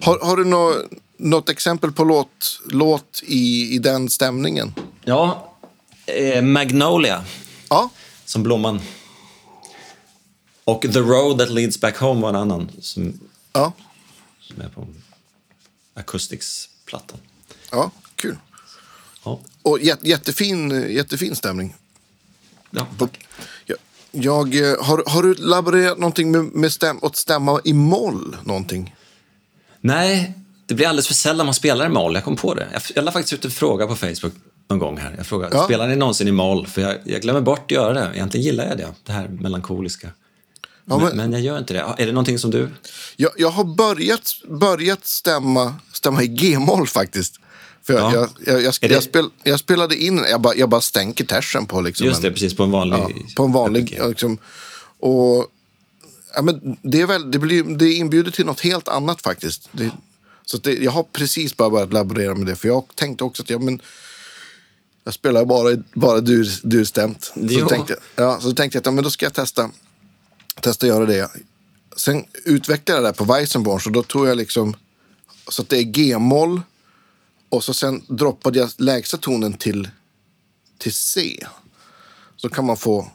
S2: Har, har du nå, något exempel på låt, låt i, i den stämningen?
S3: Ja, eh, Magnolia
S2: Ja,
S3: som blomman. Och The Road That Leads Back Home var en annan som,
S2: ja,
S3: som är på Acoustics-plattan.
S2: ja kul.
S3: Ja.
S2: Och jät, jättefin, jättefin stämning.
S3: Ja.
S2: Jag, jag, eh, har, har du laborerat någonting med, med stäm, att stämma i moll någonting?
S3: Nej, det blir alldeles för sällan man spelar i moll. Jag kom på det. Jag, jag la faktiskt ut en fråga på Facebook någon gång här. Jag frågade,
S2: Ja.
S3: spelar ni någonsin i moll? För jag, jag glömmer bort att göra det. Egentligen gillar jag det, det här melankoliska. men... Men,
S2: men-
S3: jag gör inte det. Ja, Är det någonting som du...
S2: Jag, jag har börjat, börjat stämma, stämma i g-moll faktiskt. För jag,
S3: Ja.
S2: jag, jag, jag,
S3: Är
S2: jag,
S3: det-
S2: spel, jag spelade in, jag bara, jag bara stänker tersen på liksom
S3: Just
S2: en-
S3: det, precis på en vanlig...
S2: Ja, på en vanlig... Liksom, och, ja, men det, är väl, det, blir, det inbjuder till något helt annat faktiskt. Det, så att det, jag har precis bara börjat laborera med det. För jag tänkte också att ja, men, jag spelar bara, bara dur, durstämt.
S3: Jo.
S2: Så tänkte, jag- ja, så tänkte jag att ja, men då ska jag testa, testa göra det. Sen utvecklade jag det där på Weissenborn. Så då tog jag liksom... Så att det är g-moll. Och så sen droppade jag lägsta tonen till, till C. Så kan man få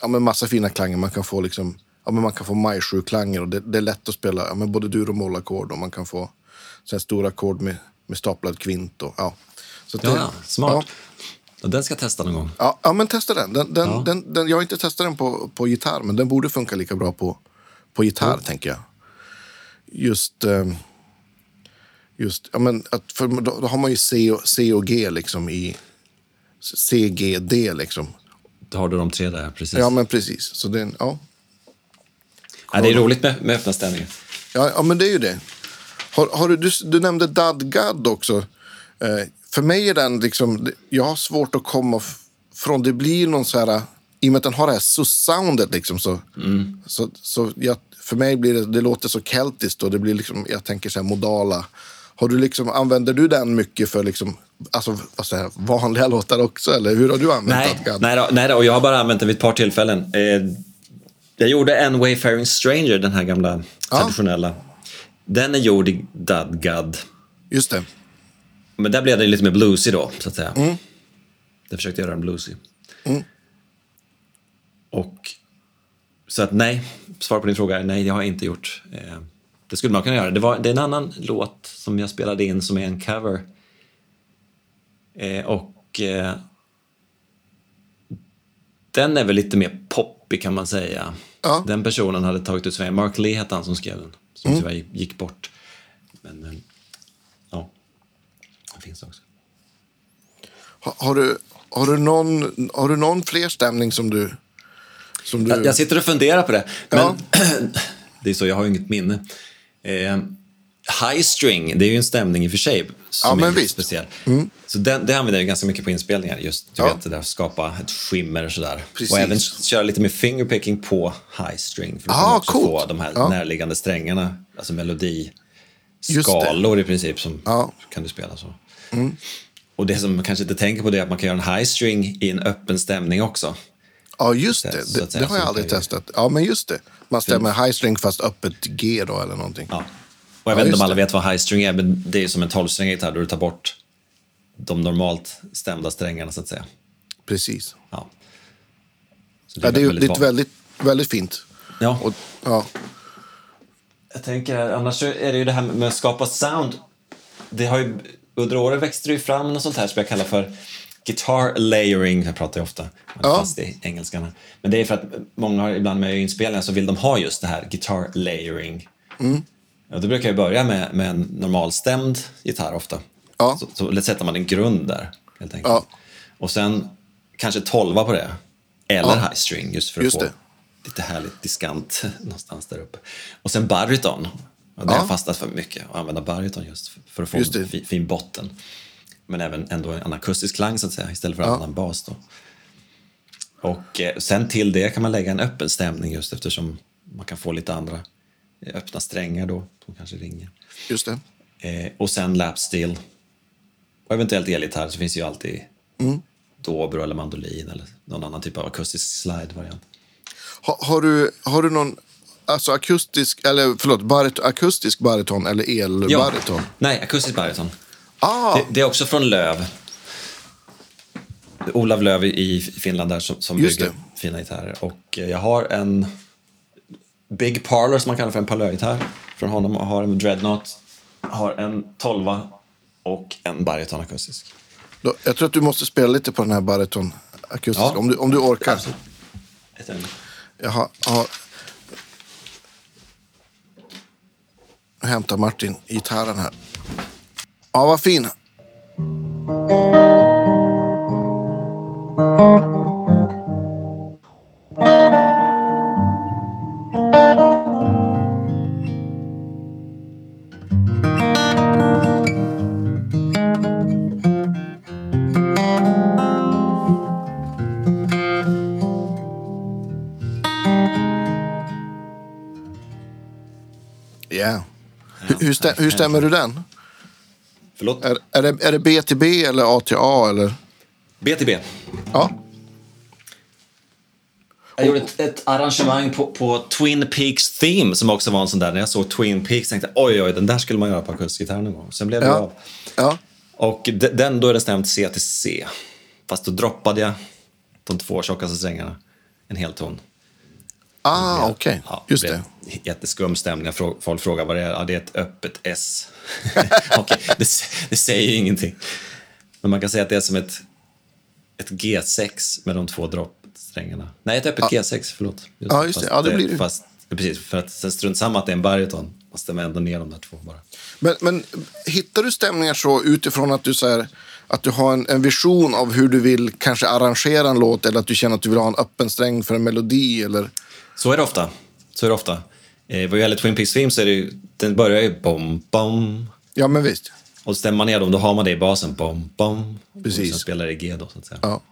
S2: ja, men massa fina klanger. Man kan få liksom, ja, men man kan få majsjuklanger och det, det är lätt att spela ja, men både dur och mollackord och man kan få så här stora ackord med, med staplad kvint. Och, ja. Så att
S3: Ja,
S2: det-
S3: ja, smart. Och Den ska jag testa någon gång.
S2: Ja, ja, ja, men testa den. den, den,
S3: Ja.
S2: den, den jag har inte testat den på, på gitarr, men den borde funka lika bra på, på gitarr, tänker jag. Just... ehm, Just, ja, men att för då, då har man ju C och, C och G liksom i CGD liksom.
S3: Då har du de tre där, precis.
S2: Ja, men precis. Så det, är en- ja,
S3: Ja, det är roligt med, med öppna stämningar.
S2: Ja, ja men det är ju det. Har, har du, du, du nämnde Dadgad också. Eh, för mig är den liksom... Jag har svårt att komma f- från... Det blir någon så här... I och med att den har det här soundet liksom så...
S3: Mm.
S2: så, så jag, för mig blir det... Det låter så keltiskt och det blir liksom... Jag tänker så här modala. Har du liksom, använder du den mycket för liksom, alltså, vad säger jag, vanliga låtar också? Eller hur har du använt
S3: Nej,
S2: Dadgad?
S3: nej, då, nej då, och jag har bara använt den vid ett par tillfällen. Eh, jag gjorde en Wayfaring Stranger, den här gamla traditionella. Den är gjord i Dadgad.
S2: Just det.
S3: Men där blev den lite mer bluesig då, så att säga.
S2: Mm.
S3: Jag försökte göra den bluesig. Och... Så att nej, svar på din fråga är nej, det har jag inte gjort. Eh, det skulle man kunna göra. Det, var, det är en annan låt som jag spelade in som är en cover. Eh, och... Eh, den är väl lite mer poppig kan man säga.
S2: Ja.
S3: Den personen hade tagit ut Sverige. Mark Lee hette han som skrev den, som tyvärr gick- gick bort. Men, eh, ja. Den finns också.
S2: Har, har, du, har, du någon, har du någon fler stämning som du... Som du...
S3: Jag, jag sitter och funderar på det. Men
S2: Ja.
S3: det är så, jag har ju inget minne. Eh, High string, det är ju en stämning i och för sig som
S2: Ja, men
S3: är lite
S2: visst. Mm.
S3: speciell. Så den, det använder jag ganska mycket på inspelningar, just du vet, det där att skapa ett skimmer och sådär.
S2: Precis.
S3: Och även köra lite mer fingerpicking på high string för att
S2: Ah,
S3: också
S2: coolt.
S3: få de här
S2: Ja.
S3: närliggande strängarna, alltså
S2: det.
S3: melodiskalor i princip, som
S2: Ja. Mm.
S3: kan du spela så. Och det som man kanske inte tänker på det är att man kan göra en high string i en öppen stämning också.
S2: Ja, just
S3: Så
S2: det.
S3: att
S2: Det,
S3: säga
S2: det har jag
S3: funkar
S2: aldrig
S3: ju.
S2: testat. Ja, men just det. Man stämmer high string fast öppet G då eller någonting.
S3: Ja. Och jag vet inte
S2: just
S3: om alla
S2: det.
S3: vet vad high string är, men det är som en 12-strängad gitarr där du tar bort de normalt stämda strängarna så att säga.
S2: Precis.
S3: Ja. Så
S2: Ja, det är, ju-
S3: väldigt
S2: det är ett
S3: van-
S2: väldigt, väldigt fint.
S3: Ja.
S2: Och, ja.
S3: Jag tänker, annars så är det ju det här med att skapa sound. Det har ju, under åren växte det ju fram något sånt här som jag kallar för guitar layering. Jag pratar ju ofta man är
S2: Ja.
S3: fast i engelskan. här. Men det är för att många har ibland med inspelningar så vill de ha just det här guitar layering.
S2: Mm.
S3: Ja, då brukar jag börja med, med en normalstämd gitarr ofta.
S2: Ja.
S3: Så, så sätter man en grund där helt enkelt.
S2: Ja.
S3: Och sen kanske tolva på det. Eller
S2: Ja.
S3: high string just för
S2: Just
S3: att få
S2: det.
S3: lite härligt diskant någonstans där uppe. Och sen baryton. Ja, det har
S2: Ja.
S3: jag fastnat för mycket, att använda baryton just för- för att få
S2: Just
S3: en
S2: det.
S3: fi- fin botten. Men även ändå en akustisk klang så att säga, istället för en annan bas. Då. Och eh, sen till det kan man lägga en öppen stämning just eftersom man kan få lite andra eh, öppna strängar då, som kanske ringer.
S2: Just det.
S3: Eh, och sen lapsteel. Och eventuellt elgitarr så finns ju alltid
S2: Mm.
S3: dobro eller mandolin eller någon annan typ av akustisk slide-variant.
S2: Ha, har, du, har du någon alltså akustisk, eller förlåt, barit, akustisk bariton eller elbariton?
S3: Nej, akustisk baryton.
S2: Ah,
S3: Det, det är också från Löv. Olav Löv i Finland där som, som
S2: Just
S3: bygger fina gitarrer. Och eh, jag har en Big Parlor som man kallar för en parlörgitarr från honom. Jag har en Dreadnought, har en tolva och en baryton akustisk.
S2: då, jag tror att du måste spela lite på den här bariton akustiska,
S3: Ja.
S2: om, du, om du orkar.
S3: Ett ögonblick.
S2: Jag har, har... Nu hämtar Martin gitarren här. Ja, vad fin. Yeah. Hur, hur, stä, hur stämmer du den?
S3: Förlåt.
S2: Är, är, det, är det B till B eller A till A? Eller?
S3: BTB.
S2: Ja.
S3: Jag gjorde ett, ett arrangemang på, på Twin Peaks Theme som också var en sån där. När jag såg Twin Peaks tänkte jag oj, oj, den där skulle man göra på akustikgitarr någon gång. Sen blev det
S2: Ja.
S3: av.
S2: ja.
S3: Och de- den, då är den stämt C till C. Fast då droppade jag de två tjockaste strängarna en hel ton.
S2: Ah, okej.
S3: Ja,
S2: Just
S3: blev
S2: det.
S3: Jätteskum stämning. Frå- Folk frågar vad det är. Ja, det är ett öppet S. Okej, det, s- det säger ju ingenting. Men man kan säga att det är som ett, ett G6 med de två droppsträngarna. Nej, ett öppet G6, förlåt.
S2: Ja, just det. Ja, det blir det.
S3: Fast, precis, för att sen strunt samma att det är en baryton. Man stämmer ändå ner de där två bara.
S2: Men, men hittar du stämningar så utifrån att du, så här, att du har en, en vision av hur du vill kanske arrangera en låt eller att du känner att du vill ha en öppen sträng för en melodi? Eller...
S3: Så är det ofta. Så är det ofta. Eh, vad gäller Twin Peaks Film så är det ju, den börjar ju bom, bom.
S2: Ja, men visst.
S3: Och stämmer man ner dem, då har man det i basen. Bom, bom. Och
S2: Precis.
S3: sen spelar det G då, så att säga.
S2: Ja.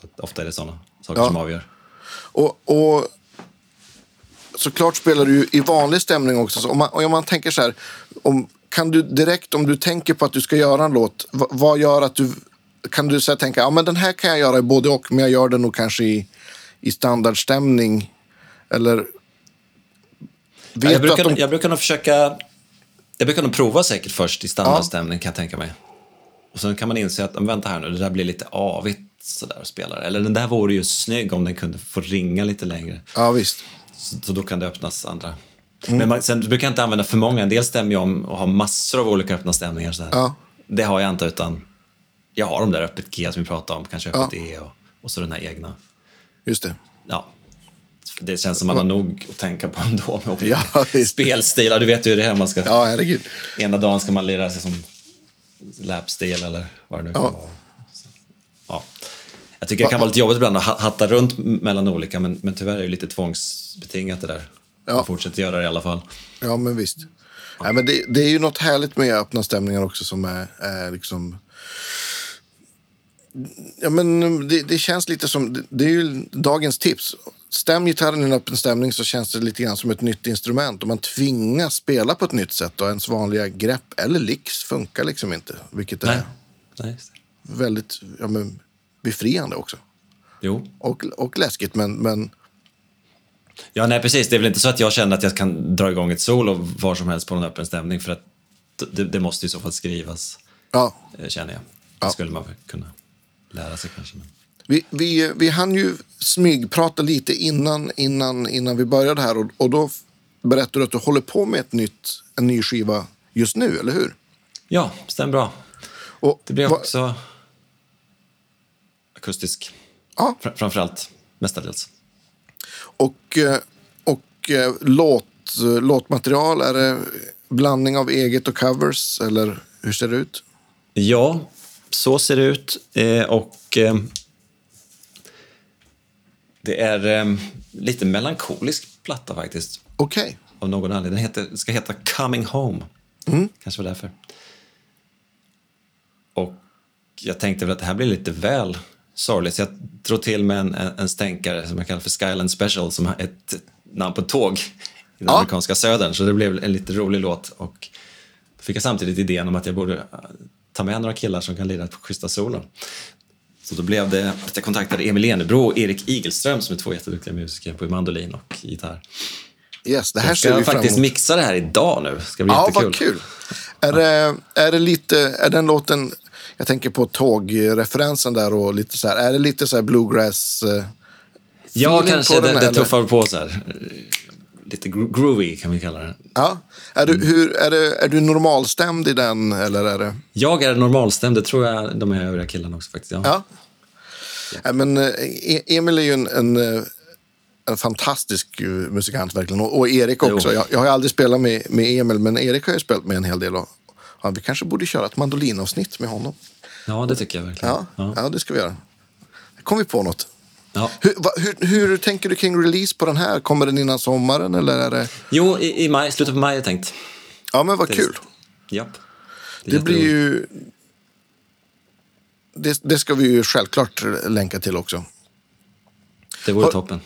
S3: Så att ofta är det såna saker
S2: Ja.
S3: som avgör.
S2: Och, och såklart spelar du ju i vanlig stämning också. Så om, man, om man tänker så här, om, kan du direkt om du tänker på att du ska göra en låt, vad, vad gör att du... Kan du så här tänka, ja men den här kan jag göra i både och, men jag gör den nog kanske i, i standardstämning? Eller... Vet
S3: jag,
S2: du att
S3: brukar,
S2: de
S3: jag brukar nog försöka... Jag brukar nog prova säkert först i standardstämning, kan jag tänka mig. Och sen kan man inse att, men vänta här nu, det där blir lite avigt sådär att spela. det. Eller den där vore ju snygg om den kunde få ringa lite längre.
S2: Ja, visst.
S3: Så, så då kan det öppnas andra.
S2: Mm.
S3: Men man, sen brukar jag inte använda för många. En del stämmer ju om och har massor av olika öppna stämningar. Sådär.
S2: Ja.
S3: Det har jag inte, utan jag har de där öppet G som vi pratade om, kanske öppet E och, och så den här egna.
S2: Just det.
S3: Ja. Det känns som man har nog att tänka på ändå med olika
S2: Ja, visst.
S3: spelstilar. Du vet ju hur det är. Man ska,
S2: Ja, herregud.
S3: Ena dagen ska man lira sig som lapstil eller vad det nu kan
S2: Ja.
S3: vara. Så, Ja. Jag tycker det kan vara lite jobbigt ibland att ha- hatta runt m- mellan olika, men, men tyvärr är det ju lite tvångsbetingat det där.
S2: Ja.
S3: Man fortsätter göra det i alla fall.
S2: Ja, men visst. Nej, men det, det är ju något härligt med öppna stämningar också som är, är liksom... Ja, men det, det känns lite som... det- Det är ju dagens tips. Stäm gitarren i en öppen stämning så känns det lite grann som ett nytt instrument. Och man tvingas spela på ett nytt sätt och ens vanliga grepp eller licks funkar liksom inte. Vilket är
S3: Nej. Nej, just det.
S2: väldigt ja, men, befriande också.
S3: Jo.
S2: Och, och läskigt, men, men
S3: Ja, nej, precis. Det är väl inte så att jag känner att jag kan dra igång ett solo var som helst på någon öppen stämning för att det, det måste i så fall skrivas,
S2: ja,
S3: eh, känner jag. Det
S2: Ja.
S3: skulle man väl kunna lära sig kanske. Men...
S2: Vi, vi, vi hann ju smygprata lite innan, innan, innan vi började här och, och då f- berättade du att du håller på med ett nytt, en ny skiva just nu, eller hur?
S3: Ja, stämmer bra.
S2: Och,
S3: Det blir
S2: va-
S3: också akustisk,
S2: Ja,
S3: fr- framförallt, mestadels.
S2: och, eh, och eh, låt, låtmaterial, är det blandning av eget och covers eller hur ser det ut?
S3: Ja, så ser det ut. Eh, och eh, det är eh, lite melankolisk platta faktiskt.
S2: Okej,
S3: Av någon anledning. Den heter, ska heta Coming Home. Kanske var därför. Och jag tänkte väl att det här blir lite väl sorgligt. Så jag drog till med en, en, en stänkare som jag kallar för Skyland Special som har ett namn på ett tåg i den
S2: Ja.
S3: amerikanska södern. Så det blev en lite rolig låt. Och då fick jag samtidigt idén om att jag borde eh, ta med några killar som kan lira på schyssta solon. Så då blev det att jag kontaktade Emil Enebro och Erik Igelström som är två jätteduktiga musiker på mandolin och gitarr.
S2: yes, det här
S3: Ska
S2: ser vi
S3: jag
S2: fram
S3: faktiskt
S2: emot.
S3: mixa det här idag nu. Ska bli
S2: Ja,
S3: jättekul.
S2: vad kul. Är det, är det lite, är den låten, jag tänker på tågreferensen där och lite så här, är det lite så här bluegrass? eh,
S3: Ja,
S2: feeling
S3: kanske
S2: på
S3: det,
S2: den,
S3: det
S2: eller?
S3: tuffar på så här. Lite gro- groovy kan vi kalla det.
S2: Ja. Är, du,
S3: Mm.
S2: hur, är, det, är du normalstämd i den? Eller är det...
S3: Jag är normalstämd, det tror jag de här övriga killarna också faktiskt. Ja.
S2: Ja. Nej, men, eh, E- Emil är ju en, en, eh, en fantastisk eh, musikant verkligen. Och, och Erik också.
S3: Jo.
S2: Jag, jag har ju aldrig spelat med, med Emil, men Erik har jag ju spelat med en hel del. Och, ja, vi kanske borde köra ett mandolinavsnitt med honom.
S3: Ja, det tycker jag verkligen.
S2: Ja, ja.
S3: Ja.
S2: det ska vi göra. Kom vi på något?
S3: Ja.
S2: Hur, va, hur, hur tänker du kring release på den här? Kommer den innan sommaren? Eller är det...
S3: Jo, i, i maj, slutet på maj har jag tänkt.
S2: Ja, men vad kul.
S3: Japp. är
S2: Det blir
S3: jätteroligt.
S2: ju... Det, det ska vi ju självklart länka till också.
S3: Det vore
S2: Har-
S3: toppen.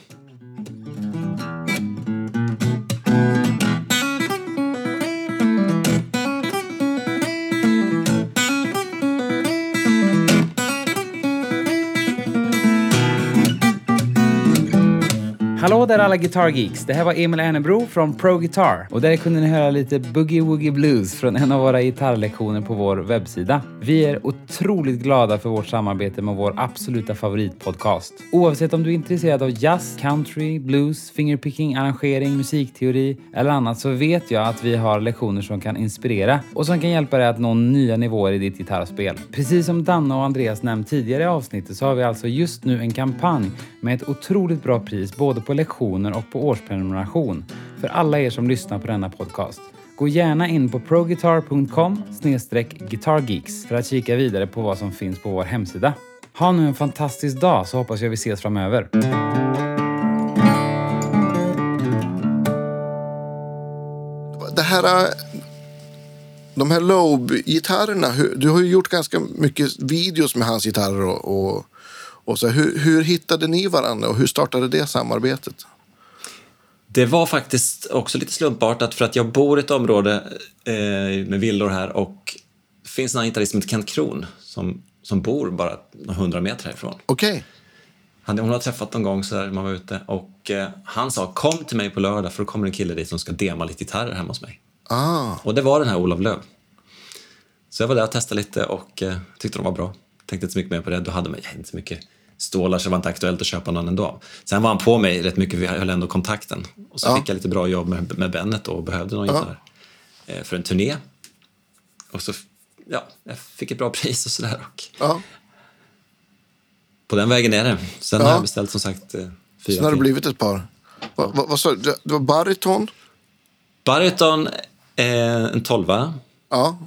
S5: Hallå där alla Guitar Geeks! Det här var Emil Ernebro från Pro Guitar. Och där kunde ni höra lite Boogie Woogie Blues från en av våra gitarrlektioner på vår webbsida. Vi är otroligt glada för vårt samarbete med vår absoluta favoritpodcast. Oavsett om du är intresserad av jazz, country, blues, fingerpicking, arrangering, musikteori eller annat så vet jag att vi har lektioner som kan inspirera och som kan hjälpa dig att nå nya nivåer i ditt gitarrspel. Precis som Danne och Andreas nämnt tidigare i avsnittet så har vi alltså just nu en kampanj med ett otroligt bra pris både på lektioner och på årsprenumeration för alla er som lyssnar på denna podcast. Gå gärna in på proguitar.com guitargeeks för att kika vidare på vad som finns på vår hemsida. Ha nu en fantastisk dag så hoppas jag vi ses framöver.
S2: Det här... eh, De här Lobe-gitarrerna. hur- Du har ju gjort ganska mycket videos med hans gitarrer. Och, och, och så. här. Hur, hur hittade ni varandra och hur startade det samarbetet?
S3: Det var faktiskt också lite slumpartat för att jag bor i ett område eh, med villor här och det finns en gitarrist som heter Kent Kron som, som bor bara några hundra meter härifrån.
S2: Okej.
S3: Han, hon har träffat någon gång så där man var ute och eh, han sa kom till mig på lördag för då kommer en kille dit som ska dema lite gitarrer hemma hos mig.
S2: Ah,
S3: Och det var den här Olof Löv. Så jag var där och testade lite och eh, tyckte de var bra. Tänkte inte så mycket mer på det. Då hade man jag hade inte så mycket stålar så det var inte aktuellt att köpa någon ändå. Sen var han på mig rätt mycket, vi höll ändå kontakten. Och så fick jag lite bra jobb med, med Bennet då och behövde någon gitarr eh, för en turné. Och så f- ja, jag fick ett bra pris och sådär. Och
S2: ja.
S3: på den vägen är det. Sen
S2: Ja.
S3: har jag beställt som sagt eh, fyra
S2: Sen har det
S3: till.
S2: blivit ett par. Vad va, vad sa du? Det var bariton?
S3: Baryton, eh, en tolva
S2: Ja.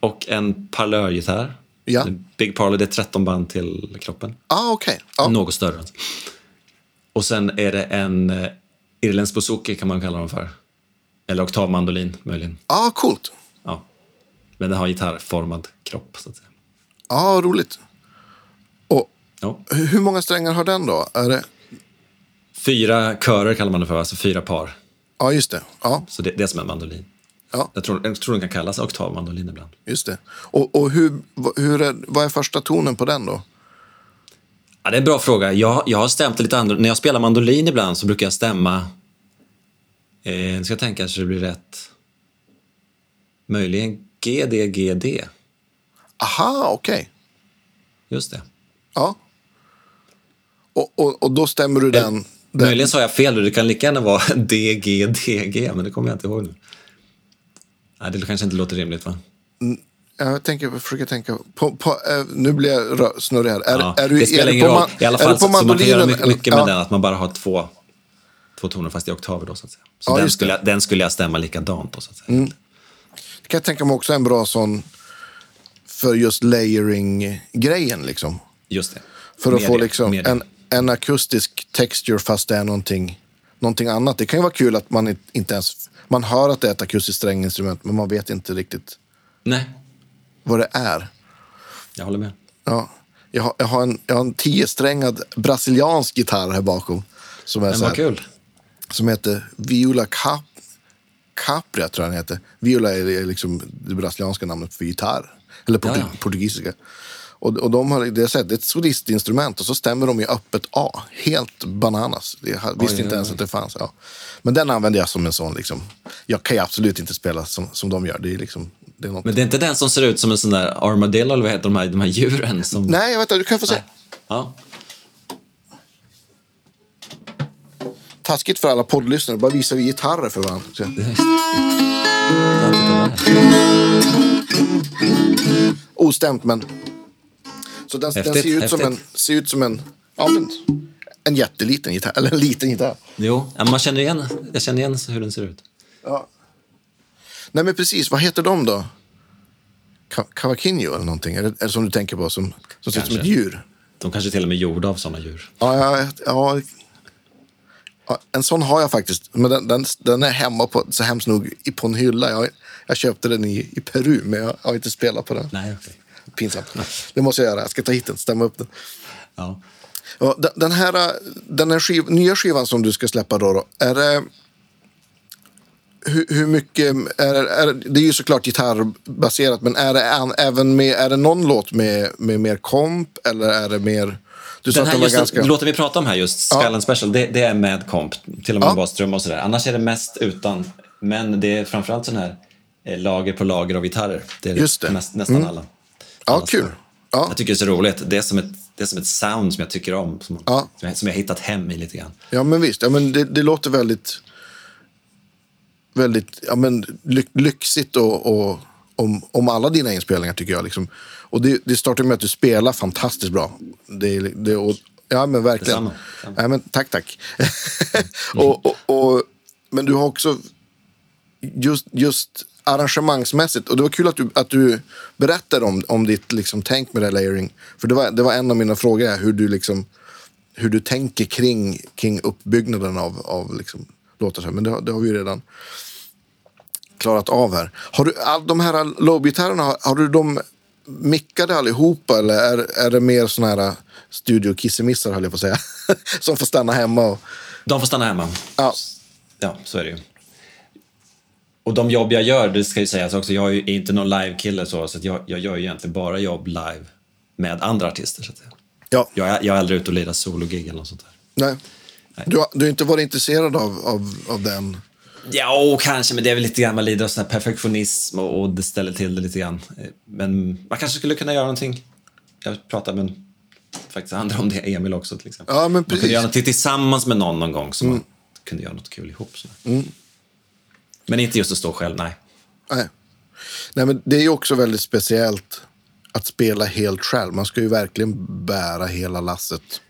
S3: och en parlörgitarr.
S2: Ja.
S3: En Big Parlor, det är 13 band till kroppen.
S2: Ah, okej. Ja.
S3: Något större. Och sen är det en eh, irländsk bouzouki kan man kalla dem för. Eller oktavmandolin möjligen.
S2: Ja, Ah, coolt.
S3: Ja. Men den har gitarrformad kropp. Så att säga.
S2: Ja, Ah, roligt. Och
S3: Ja.
S2: hur hur många strängar har den då? Är det...
S3: Fyra körer kallar man det för, alltså fyra par.
S2: Ja, just det. Ja,
S3: Så det, det är som en mandolin.
S2: ja
S3: Jag tror, jag tror den kan kallas oktavmandolin ibland.
S2: just det. Och, och hur, vad- hur är, vad är första tonen på den då?
S3: Ja, det är en bra fråga. Jag, jag har stämt lite andra. När jag spelar mandolin ibland så brukar jag stämma... Eh, nu ska jag tänka så det blir rätt. Möjligen G, D, G, D.
S2: Aha, okej.
S3: Just det.
S2: Ja. Och, och, och då stämmer
S3: Eh.
S2: du den. den.
S3: Möjligen sa jag fel. Det kan lika gärna vara D, G, D, G. Men det kommer jag inte ihåg nu. Nej, det kanske inte låter rimligt, va?
S2: Jag tänker, jag försöker tänka. På, på, eh, nu blir jag rö- snurrig här. Är,
S3: Ja,
S2: är du,
S3: det spelar
S2: är du
S3: ingen
S2: på
S3: roll.
S2: man-
S3: I alla
S2: är
S3: fall
S2: du på
S3: så, så man kan göra
S2: mandolinen
S3: mycket,
S2: eller-
S3: mycket med
S2: ja.
S3: den, att man bara har två, två toner fast i oktaver. Då, så att säga. Så
S2: Ja,
S3: den,
S2: just
S3: skulle
S2: det. Mm.
S3: jag, den skulle jag stämma likadant. Då, så att säga.
S2: Det kan jag tänka mig också är en bra sån för just layering-grejen. Liksom.
S3: Just det.
S2: För att
S3: Mer
S2: få
S3: det,
S2: liksom
S3: mer det.
S2: en, en akustisk texture fast det är någonting, någonting annat. Det kan ju vara kul att man inte- inte ens... Man hör att det är ett akustiskt stränginstrument, men man vet inte riktigt
S3: Nej,
S2: vad det är.
S3: jag håller med.
S2: Ja. Jag, har, jag, har en, jag har en tiosträngad brasiliansk gitarr här bakom. Som, är
S3: Men
S2: så
S3: vad
S2: här,
S3: kul.
S2: som heter Viola Cap, Capria, tror jag den heter. Viola är är liksom det brasilianska namnet för gitarr. Eller portu,
S3: Ja, ja.
S2: portugisiska. Och, och de har, det, är så här, det är ett solistinstrument och så stämmer de i öppet A. Helt bananas. Jag ha- visste inte ens att det fanns. Ja. Men den använder jag som en sån. Liksom. Jag kan ju absolut inte spela som, som de gör. Det är liksom, det är något.
S3: Men det är inte den som ser ut som en sån där armadillo eller vad heter de här, de här djuren? Som...
S2: Nej, jag vet inte. Du kan få se.
S3: Ja.
S2: Taskigt för alla poddlyssnare. Bara visar vi gitarrer för varandra. Så-
S3: Ja, titta där.
S2: Ostämt, men... Så den, den
S3: Häftigt,
S2: ser, ut som en,
S3: häftigt.
S2: ser ut som en... Ja, men, en jätteliten gitarr. Eller en liten gitarr.
S3: Jo, ja, men man känner igen, jag känner igen hur den ser ut.
S2: Nej, men precis. Vad heter de då? Ka- Cavaquinho eller någonting? Eller, eller som du tänker på, som, som ser ut som ett
S3: Kanske.
S2: djur.
S3: De kanske till och med är gjorda av såna djur.
S2: Ja, ja, ja, ja, en sån har jag faktiskt. Men den, den, den är hemma på, så hemskt nog i- på en hylla. Jag, jag köpte den i, i Peru, men jag har inte spelat på den.
S3: Nej, okej.
S2: Pinsamt. Det måste jag göra. Jag ska ta hit den, stämma upp den.
S3: Ja.
S2: Ja, de- den här, eh, den här skiv, nya skivan som du ska släppa då, då är det... Hur, hur mycket... Är, det- är, det- det är ju såklart gitarrbaserat, men är det, an, även med, är det någon låt med, med mer komp eller är det mer... Du sa
S3: Den
S2: att
S3: här
S2: den var
S3: just,
S2: ganska...
S3: låten vi pratar om här just, Skull and Special, det, det är med komp, till och med
S2: Ja.
S3: basström och sådär. Annars är det mest utan, men det är framförallt sån här eh, lager på lager av gitarrer. Det är
S2: Just det. Mm.
S3: Näst, nästan alla.
S2: ja,
S3: alla
S2: kul.
S3: spår.
S2: Ja,
S3: Jag tycker det är så roligt. Det är som ett, det är som ett sound som jag tycker om, som,
S2: Ja.
S3: som, jag, som jag har hittat hem i lite grann.
S2: ja, men visst. Ja, men det, det låter väldigt... Väldigt ja, men ly, lyxigt och, och, om, om alla dina inspelningar, tycker jag. Liksom. Och det, det startar med att du spelar fantastiskt bra. Det, är- det, och, ja, men verkligen.
S3: Detsamma. Mm.
S2: Ja, men, tack, tack. och, och, och, men du har också just, just arrangemangsmässigt. Och det var kul att du, att du berättade om, om ditt liksom, tänk med det här layering. För det var, det var en av mina frågor, här, hur du, liksom, hur du tänker kring, kring uppbyggnaden av, av liksom, låtar. så här. Men det, har- det har vi ju redan klarat av här. Har du all, de här lobbygitarrerna, har, har du dem mickade allihopa eller är, är det mer såna här studio-kissemissar, höll jag på att säga, som får stanna hemma? Och,
S3: De får stanna hemma.
S2: ja,
S3: Ja, så är det ju. Och de jobb jag gör, det ska ju sägas också, jag är ju inte någon live-kille så, så att jag, jag gör ju egentligen bara jobb live med andra artister. Så att säga.
S2: ja,
S3: Jag, är- jag är aldrig ute och lirar sologig eller något sånt där.
S2: nej. Du, har, du har inte varit intresserad av, av, av den?
S3: Ja, och kanske, men det är väl lite grann, man lider av sån här perfektionism och, och det ställer till det lite grann. Eh, Men man kanske skulle kunna göra någonting. Jag pratade med faktiskt andra om det, Emil också till exempel.
S2: Ja, men
S3: Man
S2: precis. Mm.
S3: kunde göra någonting tillsammans med någon någon gång så man kunde göra något kul ihop. Så. Men inte just att stå själv, nej.
S2: Nej. Nej, men det är ju också väldigt speciellt att spela helt själv. Man ska ju verkligen bära hela lasset.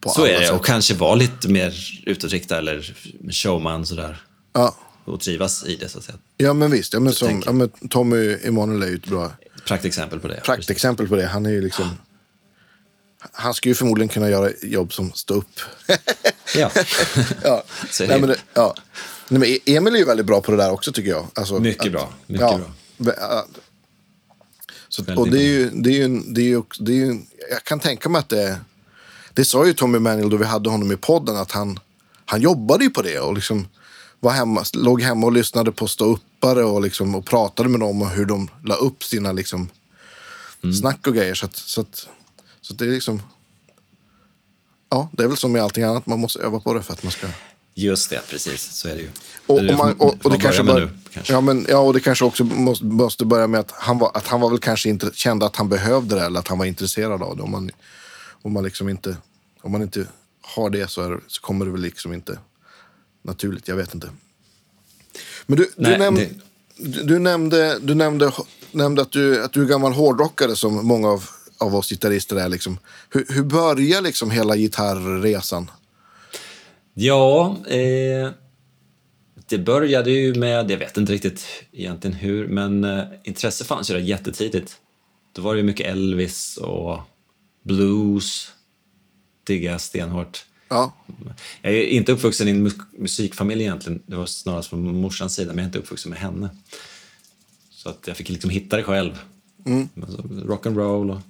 S2: På
S3: Så
S2: alla
S3: är det,
S2: sätt.
S3: och kanske vara lite mer utåtriktad eller showman sådär.
S2: Ja.
S3: Och trivas i det, så att säga.
S2: ja, men visst. Ja, men som,
S3: tänker
S2: ja, men Tommy Emanuel är ju ett bra
S3: Praktexempel på det.
S2: praktexempel på det. Han är ju liksom... Han ska ju förmodligen kunna göra jobb som stå upp.
S3: Ja.
S2: ja.
S3: Så är det
S2: Nej, men
S3: ju.
S2: det, ja. Nej, men E- Emil är ju väldigt bra på det där också tycker jag. Alltså,
S3: Mycket bra, mycket bra.
S2: vä- ja. Så,
S3: Väldigt
S2: och det är ju, det är ju, en- det är ju, också- det är ju en- jag kan tänka mig att det, det sa ju Tommy Manuel då vi hade honom i podden att han, han jobbade ju på det och liksom var hemma, låg hemma och lyssnade på ståuppare och, liksom, och pratade med dem och hur de la upp sina liksom, snack och grejer. Så, att, så, att, så att det är liksom, ja, det är väl som med allting annat, man måste öva på det för att man ska
S3: Just det, precis. Så är det ju.
S2: och,
S3: Eller,
S2: och, man,
S3: får
S2: och, och det
S3: man
S2: kanske
S3: börja
S2: bara,
S3: med nu, kanske.
S2: Ja, men, ja, och det kanske också måste, måste börja med att han, var, att han var väl kanske inte kände att han behövde det eller att han var intresserad av det. Om man, om man, liksom inte, om man inte har det så, är, det- så kommer det väl liksom inte naturligt. Jag vet inte. Men du, du,
S3: Nej,
S2: näm,
S3: det-
S2: du, du nämnde, du nämnde, nämnde att, du, att du är gammal hårdrockare som många av, av oss gitarrister är. Liksom. Hur, hur börjar liksom hela gitarrresan?
S3: Ja, eh, det började ju med, jag vet inte riktigt egentligen hur, men eh, intresse fanns ju där jättetidigt. Då var det ju mycket Elvis och blues, digga stenhårt.
S2: Ja,
S3: Jag är inte uppvuxen i en mu- musikfamilj egentligen, det var snarast från morsans sida, men jag är inte uppvuxen med henne. Så att jag fick liksom hitta det själv. Mm. Rock'n'roll och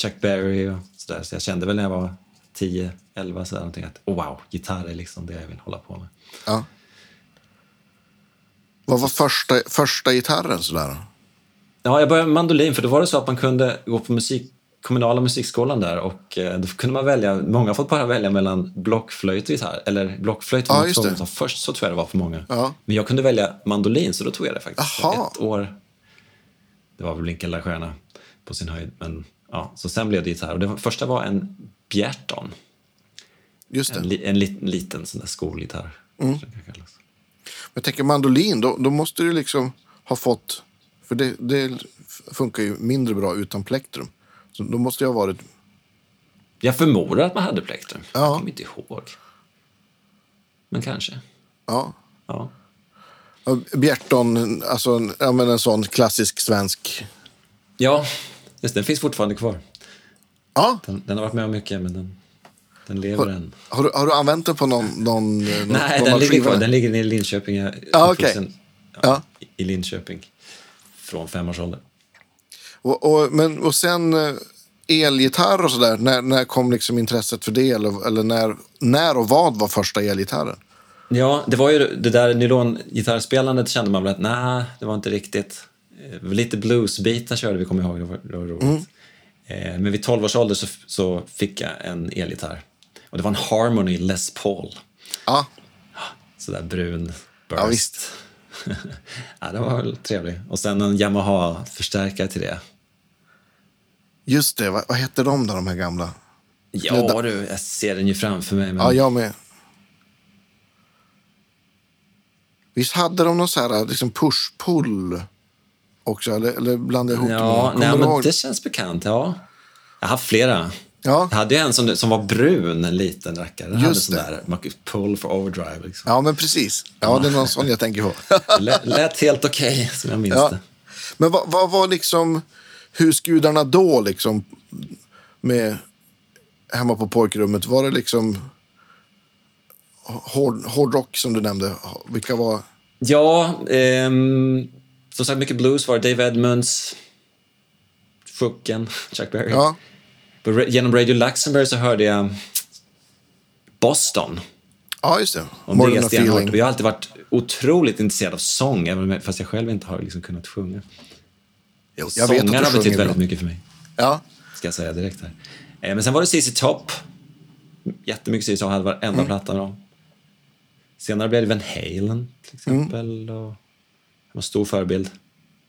S3: Chuck Berry och sådär. Så jag kände väl när jag var 10, 11 sådär någonting att oh, wow, gitarr är liksom det jag vill hålla på med.
S2: Ja. Vad var första, första gitarren sådär?
S3: Ja, jag började med mandolin, för då var det så att man kunde gå på musik, kommunala musikskolan där och eh, då kunde man välja, många har fått bara välja mellan blockflöjt och gitarr, eller blockflöjt var
S2: Ja,
S3: något
S2: just
S3: som
S2: det.
S3: som först så tror jag det var för många.
S2: Ja.
S3: Men jag kunde välja mandolin, så då tog jag det faktiskt.
S2: Jaha.
S3: Ett år. Det var väl Blinka lilla stjärna på sin höjd, men ja, så sen blev det gitarr. Och det var, första var en Bjerton,
S2: Just det. Men
S3: en, li, en, lit, en liten sån där skolgitarr.
S2: Mm.
S3: som det kan kallas.
S2: jag tänker mandolin, då, då måste du liksom ha fått... För det, det funkar ju mindre bra utan plektrum. Så då måste jag ha varit...
S3: Jag förmodar att man hade plektrum.
S2: Ja.
S3: Jag kommer inte ihåg. Men kanske.
S2: Ja.
S3: Ja.
S2: Ja, Bjerton, alltså en, ja, men en sån klassisk svensk...
S3: Ja, just det, den finns fortfarande kvar.
S2: Ja,
S3: Den, den har varit med om mycket, men den, den lever än.
S2: har du, har du använt den på någon... någon eh, någon
S3: Nej,
S2: någon
S3: den
S2: av
S3: ligger kvar.
S2: skivorna?
S3: Den ligger nere i Linköping. Jag är
S2: Ja,
S3: uppvuxen,
S2: okej.
S3: ja, I Linköping. Från femårsåldern.
S2: Och, och, men, och sen eh, elgitarr och sådär, när, när kom liksom intresset för det? Eller, eller när, när och vad var första elgitarren?
S3: Ja, det var ju det där nylongitarrspelandet kände man väl att nej, det var inte riktigt. Eh, Lite bluesbitar körde vi, kommer jag ihåg. Det var, det var
S2: Mm.
S3: roligt. Eh, Men vid 12 års ålder så, så fick jag en elgitarr. Och det var en Harmony Les Paul.
S2: Ja,
S3: Sådär brun burst.
S2: Ja, visst.
S3: ja, det var väl trevlig. Och sen en Yamaha-förstärkare till det.
S2: Just det, vad, vad hette de där, de här gamla?
S3: Ja, du, jag ser den ju framför mig. Men...
S2: Ja, jag med. Visst hade de någon så här liksom push-pull också? Eller, eller blandade jag ihop
S3: Ja,
S2: dem? Kommer
S3: nej,
S2: du
S3: men
S2: ihåg?
S3: det känns bekant. Ja. Jag har haft flera.
S2: Ja.
S3: Jag hade ju en som, som var brun, en liten rackare. Den hade
S2: Just
S3: sån
S2: det.
S3: där man kunde pull for overdrive. Liksom.
S2: ja, men precis. Ja, det är någon sån jag tänker på.
S3: Det lät, lät helt okej, som jag minns
S2: Ja.
S3: det.
S2: Men vad, vad var liksom husgudarna då, liksom? Med, hemma på pojkrummet, var det liksom hård, hårdrock som du nämnde? Vilka var...
S3: Ja, ehm, som sagt, mycket blues var det. Dave Edmunds, Schucken, Chuck Berry.
S2: Ja,
S3: På, ra- genom Radio Luxemburg så hörde jag Boston.
S2: ja just det.
S3: Om
S2: More
S3: det är
S2: than a
S3: stenhårt.
S2: feeling.
S3: Och Jag har alltid varit otroligt intresserad av sång, även om jag- fast jag själv inte har liksom kunnat sjunga.
S2: Jag vet att du
S3: Sångar har
S2: sjunger
S3: betytt
S2: bra.
S3: väldigt mycket för mig,
S2: Ja.
S3: ska jag säga direkt här. Eh, Men sen var det ZZ Top. Jättemycket ZZ Top, hade varenda
S2: Mm.
S3: platta med dem. Senare blev det Van Halen, till
S2: Mm.
S3: exempel. Och... Jag var en stor förebild.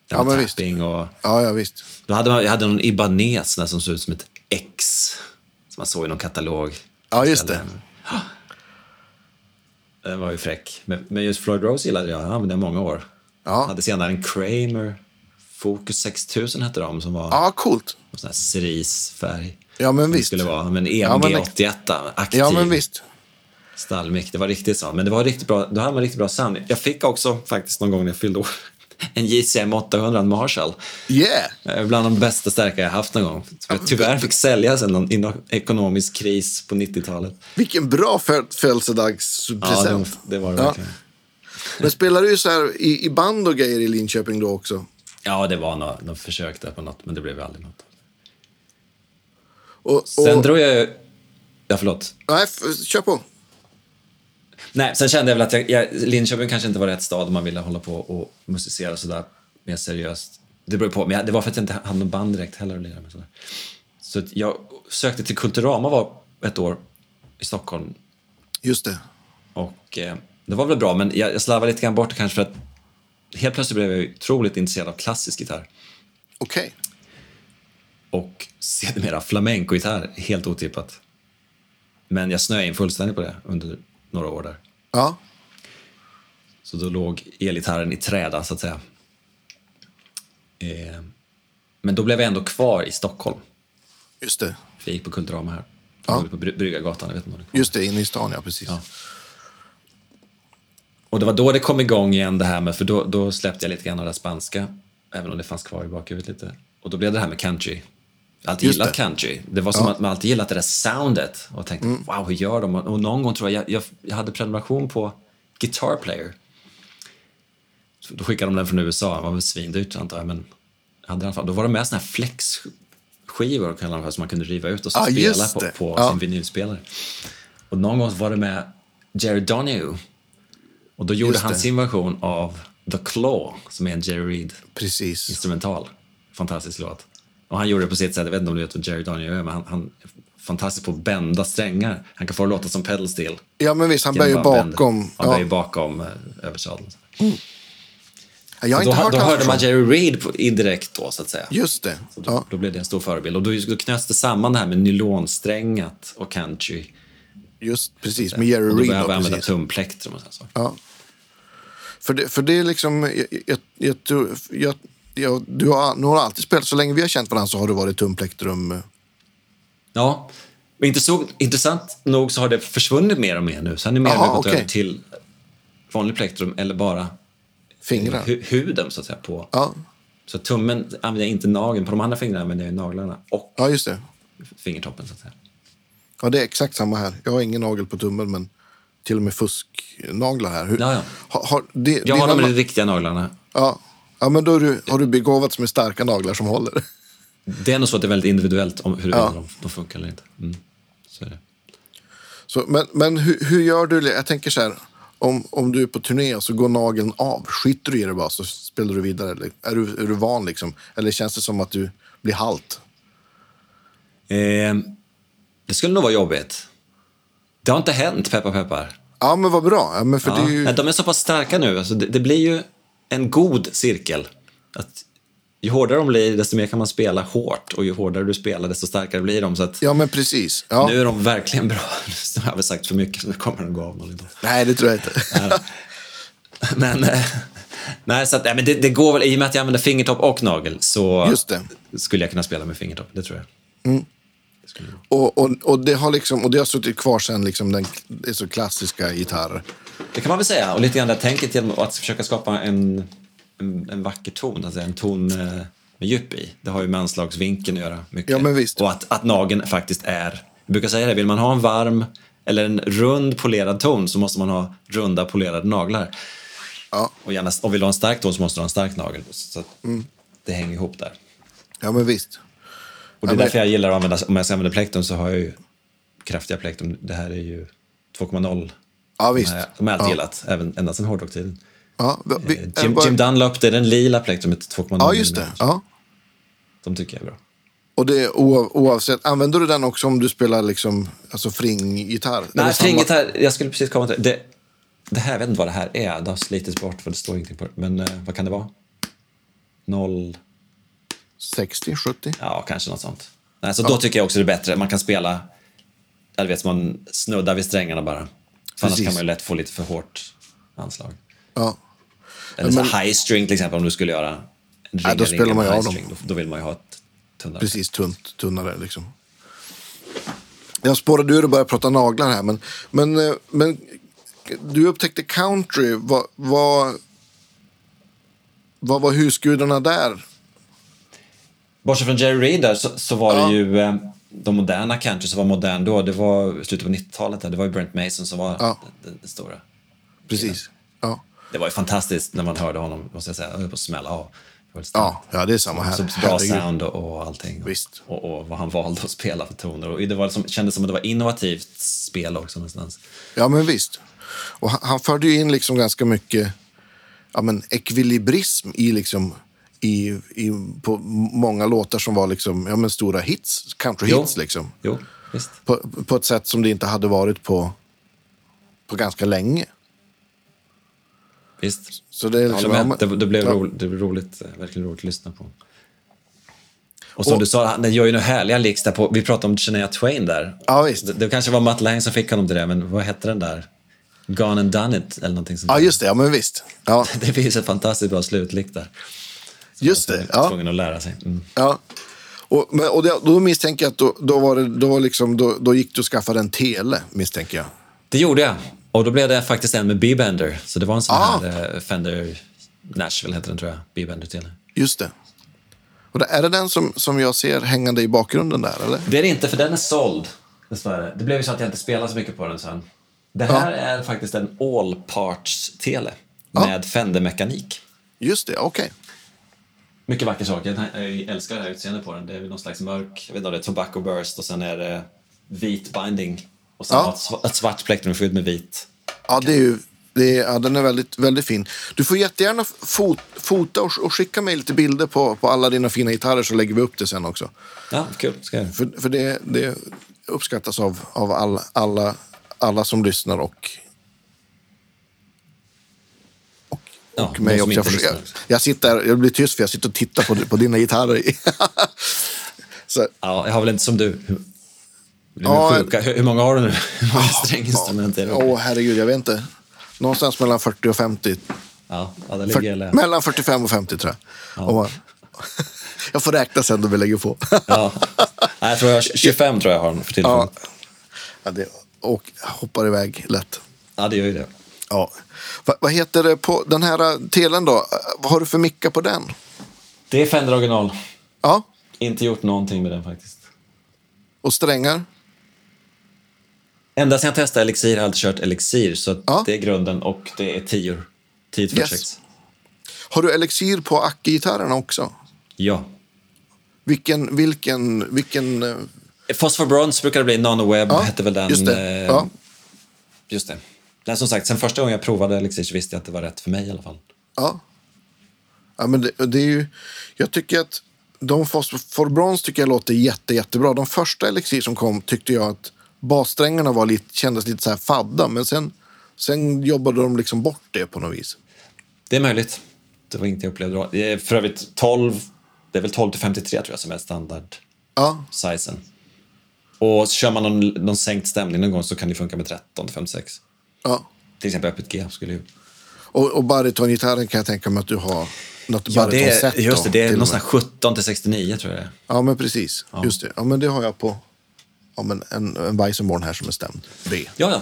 S2: Ja, men visst.
S3: tapping och...
S2: Ja, ja, visst.
S3: Då hade man, jag hade någon Ibanez där som såg ut som ett X, som man såg i någon katalog.
S2: Ja, just det.
S3: Mm. Den var ju fräck. Men, men just Floyd Rose gillade jag. Han använde jag många år.
S2: Ja.
S3: Hade senare en Kramer. Focus 6000 hette de, som var
S2: Ja, coolt.
S3: någon sån här cerisfärg.
S2: Ja, men
S3: Som det
S2: visst.
S3: skulle vara. Men E
S2: Ja, men ex-
S3: EMG81, aktiv
S2: Ja, men visst.
S3: stallmick. Det var riktigt så. Men det var riktigt bra. då hade man riktigt bra sound. Jag fick också faktiskt någon gång när jag fyllde år en JCM 800, en Marshall.
S2: Yeah!
S3: Eh, Bland de bästa stärkare jag haft någon gång. Som jag tyvärr fick sälja sen någon inom- ekonomisk kris på 90-talet.
S2: Vilken bra föd-
S3: Ja, det,
S2: födelsedagspresent.
S3: det var det
S2: Ja.
S3: verkligen.
S2: Men spelar du så här i, i band och grejer i Linköping då också?
S3: Ja, det var några, några försök där på något, men det blev aldrig något.
S2: Och, och,
S3: Sen drog jag ju... Ja, förlåt.
S2: Nej, f- kör på.
S3: Nej, sen kände jag väl att jag, jag, Linköping kanske inte var rätt stad om man ville hålla på och musicera sådär mer seriöst. Det beror ju på, men jag, det var för att jag inte hade någon band direkt heller att lira med. Sådär. Så att jag sökte till Kulturama var ett år i Stockholm
S2: Just det.
S3: och eh, det var väl bra, men jag, jag slarvade lite grann bort det kanske för att helt plötsligt blev jag ju otroligt intresserad av klassisk gitarr
S2: Okej.
S3: och sedermera flamenco-gitarr, helt otippat. Men jag snöade in fullständigt på det under några år där.
S2: Ja.
S3: Så då låg elgitarren i träda, så att säga. Eh, men då blev jag ändå kvar i Stockholm.
S2: Just det.
S3: För jag gick på Kulturama här.
S2: Ja.
S3: Ja. På Bry- Bryggargatan, jag vet inte om det
S2: Just det, inne i stan, ja. Precis.
S3: Ja. Och det var då det kom igång igen det här med, för då, då släppte jag lite grann av det här spanska, även om det fanns kvar i bakhuvudet lite. Och då blev det här med country. Jag har alltid
S2: Just
S3: gillat
S2: det.
S3: country. Det var som att man alltid gillat det där soundet och tänkte,
S2: Mm.
S3: wow, hur gör de? Och någon gång tror jag, jag, jag, jag hade prenumeration på Guitar Player. Så Då skickade de den från USA, det var väl svindyrt antar jag, men jag hade i alla fall. Då var det med såna här flexskivor kallar de för, som man kunde riva ut och så
S2: Ah,
S3: spela
S2: just
S3: på,
S2: det.
S3: på
S2: Ja.
S3: sin vinylspelare. Och någon gång var det med Jerry Donahue. Och då gjorde
S2: Just
S3: han
S2: det.
S3: sin version av The Claw, som är en Jerry Reed-instrumental.
S2: Precis.
S3: Fantastisk låt. Och han gjorde det på sitt sätt. Jag vet inte om du vet vem Jerry Donahue är, men han, han är fantastisk på att bända strängar. Han kan få det att låta som pedal steel.
S2: Ja, men visst. Han
S3: genom
S2: böjer
S3: att bara bända.
S2: bakom.
S3: Han böjer
S2: Ja.
S3: bakom eh, översadeln.
S2: Jag har
S3: Då,
S2: inte hört
S3: då
S2: hans
S3: hörde man
S2: version.
S3: Jerry Reed på, indirekt då, så att säga.
S2: Just det. Ja.
S3: Då blev det en stor förebild. Och då, då knöts det samman det här med nylonsträngat och country.
S2: Just precis. Med Jerry
S3: Och då
S2: Reed.
S3: började vi
S2: ja,
S3: använda
S2: precis.
S3: tumplektrum och sådana saker.
S2: Ja. För det, för det är liksom... Jag, jag, jag, tror- jag, jag, du har, nu har du alltid spelat. Så länge vi har känt varandra så har du varit tumplektrum. eh,
S3: Ja, men inte så, intressant nog så har det försvunnit mer och mer nu. Så har ni mer och
S2: Jaha,
S3: mer gått
S2: okej.
S3: över till vanlig plektrum eller bara
S2: Fingrar.
S3: hu- huden så att säga. På.
S2: Ja.
S3: Så tummen använder jag inte nageln, på de andra fingrarna använder jag ju naglarna och
S2: ja, just det.
S3: fingertoppen så att säga.
S2: Ja, det är exakt samma här. Jag har ingen nagel på tummen, men till och med fusknaglar här. Hur,
S3: Ja, ja.
S2: Har, har, det,
S3: Jag
S2: dina
S3: har de
S2: ma-
S3: med de riktiga naglarna.
S2: ja. ja, men då är du, har du begåvats med starka naglar som håller.
S3: Det är nog så att det är väldigt individuellt om hur de, de funkar eller inte. Mm. Så är det.
S2: Så, men men hur, hur gör du? Jag tänker så här, om, om du är på turné och så går nageln av, skiter du i det bara så spelar du vidare? Eller, är, du, är du van liksom? Eller känns det som att du blir halt?
S3: Ehm, det skulle nog vara jobbigt. Det har inte hänt, peppar peppar.
S2: Ja, men vad bra. Ja, men för
S3: Ja.
S2: det är ju...
S3: Nej, de är så pass starka nu. Alltså, det, det blir ju en god cirkel. Att ju hårdare de blir, desto mer kan man spela hårt. Och ju hårdare du spelar, desto starkare blir de. Så att
S2: Ja, men precis. Ja.
S3: Nu är de verkligen bra. Nu har jag väl sagt för mycket, så nu kommer de gå av någon idag.
S2: Nej, det tror jag inte.
S3: Men, eh, nej, så att, nej, men det, det går väl. I och med att jag använder fingertopp och nagel så
S2: Just det.
S3: skulle jag kunna spela med fingertopp. Det tror jag.
S2: Och, och, och, det har liksom, och det har suttit kvar sen liksom den det är så klassiska gitarr.
S3: Det kan man väl säga. Och lite grann det här tänket genom att försöka skapa en, en, en vacker ton, alltså en ton eh, med djup i. Det har ju med anslagsvinkeln att göra. Mycket.
S2: Ja, men visst.
S3: Och att, att nageln faktiskt är... Jag brukar säga det, vill man ha en varm eller en rund polerad ton så måste man ha runda polerade naglar.
S2: Ja.
S3: Och gärna, om vill du ha en stark ton så måste du ha en stark nagel. Så att
S2: Mm.
S3: det hänger ihop där.
S2: Ja, men visst.
S3: Och det är
S2: men-
S3: därför jag gillar att använda, om jag ska använda plektrum så har jag ju kraftiga plektrum. Det här är ju 2,0.
S2: Ja, visst.
S3: De har jag- De har jag alltid gillat, även, ända sedan hårdrocktiden.
S2: Ja, vi, vi,
S3: Eh, Jim,
S2: eh, bara-
S3: Jim Dunlop, det är den lila plektrumet 2,0
S2: ja just det.
S3: millimeter.
S2: Ja.
S3: De tycker jag är bra.
S2: Och det är oav, oavsett. Använder du den också om du spelar liksom, alltså fringgitarr? Eller samma-
S3: Nej, fringet här, jag skulle precis komma till det. Det här, jag vet inte vad det här är. Det har slitits bort för det står ingenting på det. Men eh, vad kan det vara? Noll...
S2: 60, 70?
S3: Ja, kanske något sånt. Nej, så då tycker jag också det är bättre. Man kan spela... Jag vet, man snuddar vid strängarna bara. För annars
S2: Precis.
S3: kan man ju lätt få lite för hårt anslag.
S2: Ja.
S3: Eller så high string till exempel, om du skulle göra... En
S2: Ja, då spelar
S3: ringa-ringa
S2: man ju
S3: high
S2: av dem.
S3: string. Då, då vill man ju ha ett tunnare.
S2: Precis, tunt, tunnare liksom. Jag spårade ur och började prata naglar här, men, men, eh, men du upptäckte country. Vad, vad, vad var husgudarna där?
S3: Bortsett från Jerry Reed där, så, så var det ju eh, de moderna country som var modern då. Det var slutet på 90-talet. Där. Det var ju Brent Mason som var
S2: Ja.
S3: den, den stora.
S2: Precis. Ja.
S3: Det var ju fantastiskt när man hörde honom, måste jag säga. Jag höll på att smälla av. Det var lite
S2: Ja, ja, det är samma här.
S3: så bra
S2: Herregud.
S3: sound och, och allting.
S2: Visst.
S3: Och, och vad han valde att spela för toner. Och det var liksom, kändes som att det var innovativt spel också någonstans.
S2: Ja, men visst. Och han, han förde ju in liksom ganska mycket ja, men ekvilibrism i, liksom, i, i, på många låtar som var liksom, ja, men stora hits, country-hits.
S3: Jo.
S2: Liksom,
S3: Jo, visst.
S2: på, på ett sätt som det inte hade varit på, på ganska länge.
S3: visst.
S2: Så det, är
S3: Jag
S2: liksom,
S3: håller
S2: ja,
S3: med.
S2: men-
S3: Alltså, Det, det, blev
S2: ja.
S3: roligt, det blev roligt, eh, verkligen roligt att lyssna på. Och som du sa, han den gör ju några härliga licks där på, vi pratade om Shania Twain där.
S2: Ja, visst.
S3: Det, det kanske var Matt Lang som fick honom till det, men vad hette den där? Gone and done it eller någonting sånt
S2: Ja,
S3: där.
S2: just det. Ja, men visst. Ja,
S3: Det finns ett fantastiskt bra slutlick där.
S2: just det. Ja.
S3: Tvungen att lära sig. Mm.
S2: Ja. Och, men, och det, då misstänker jag att då, då, var det, då, liksom, då, då gick du och skaffade en tele, misstänker jag.
S3: Det gjorde jag. Och då blev det faktiskt en med B-Bender. Så det var en sån
S2: Ah.
S3: här eh, Fender Nashville heter den tror jag. B-Bender till.
S2: Just det. Och det, är det den som, som jag ser hängande i bakgrunden där, eller?
S3: Det är det inte för den är såld. Dessvärre. Det blev ju så att jag inte spelade så mycket på den sen. Det här är faktiskt en all parts tele med Fender-mekanik.
S2: Just det, okej.
S3: Mycket vacker sak. Jag jag älskar det här utseendet på den. Det är väl någon slags mörk, jag vet inte om det är tobacco burst och sen är det vit binding. Och sen
S2: Ja.
S3: har ett sv- ett svart plektrumskydd med vit.
S2: Ja, det är ju, det är, ja, den är väldigt, väldigt fin. Du får jättegärna fot, fota och, och skicka mig lite bilder på, på alla dina fina gitarrer så lägger vi upp det sen också.
S3: Ja, kul. Ska jag. göra.
S2: För, för det, det uppskattas av, av all, alla, alla som lyssnar och
S3: Ja,
S2: och mig
S3: de som
S2: också. Jag,
S3: inte
S2: försöker, jag,
S3: lyssnar.
S2: jag sitter jag blir tyst för jag sitter och tittar på, på dina gitarrer. så,
S3: Ja, jag har väl inte som du. Hur,
S2: Ja,
S3: hur, sjuka, hur, hur många har du nu? Hur många stränginstrument är det?
S2: åh herregud, jag vet inte. Någonstans mellan 40 och 50.
S3: Ja, ja, där
S2: Fyrt-
S3: ligger jag lä-
S2: mellan 45 och 50 tror jag. Om man, jag får räkna sen då vi lägger på.
S3: ja. Nej, jag tror jag, 25 tror jag har den för
S2: ja.
S3: tillfället. Ja.
S2: Ja, det, och hoppar iväg lätt.
S3: det gör ju det.
S2: Ja. Va, vad heter det på den här eh, telen då? Vad har du för micka på den?
S3: Det är Fender original.
S2: Ja,
S3: Inte gjort någonting med den faktiskt.
S2: och strängar?
S3: Ända sedan jag testade Elixir har jag alltid kört Elixir, så att
S2: Ja.
S3: det är grunden och det är 10 10
S2: Yes.
S3: yes.
S2: Har du elixir på Acke-gitarrerna också?
S3: Ja.
S2: Vilken, vilken, vilken... eh,
S3: Phosphor Bronze brukar det bli, NanoWeb
S2: Ja,
S3: hette väl den.
S2: Just det.
S3: eh,
S2: Ja.
S3: just det. Nej, som sagt, sen första gången jag provade Elixir så visste jag att det var rätt för mig i alla fall.
S2: Ja. ja men det, det är ju, jag tycker att de Phosphor Bronze tycker jag låter jätte, jättebra. De första Elixir som kom tyckte jag att bassträngarna var lite, kändes lite så här fadda. Men sen, sen jobbade de liksom bort det på något vis.
S3: Det är möjligt. Det var inte jag upplevde då. Det är för övrigt 12, det är väl 12 till 53 tror jag som är standard-sizen.
S2: Ja,
S3: Och kör man någon, någon sänkt stämning någon gång så kan det funka med 13 till 56.
S2: ja.
S3: Till exempel öppet G skulle ju...
S2: Och, och barytongitarren kan jag tänka mig att du har något barytonset. då,
S3: just det, det
S2: till
S3: är
S2: och med.
S3: någonstans 17 till 69 tror jag det är.
S2: Ja, men precis. Just det. Ja, men det har jag på ja, men en, en Weissenborn här som är stämd. B.
S3: Ja, ja.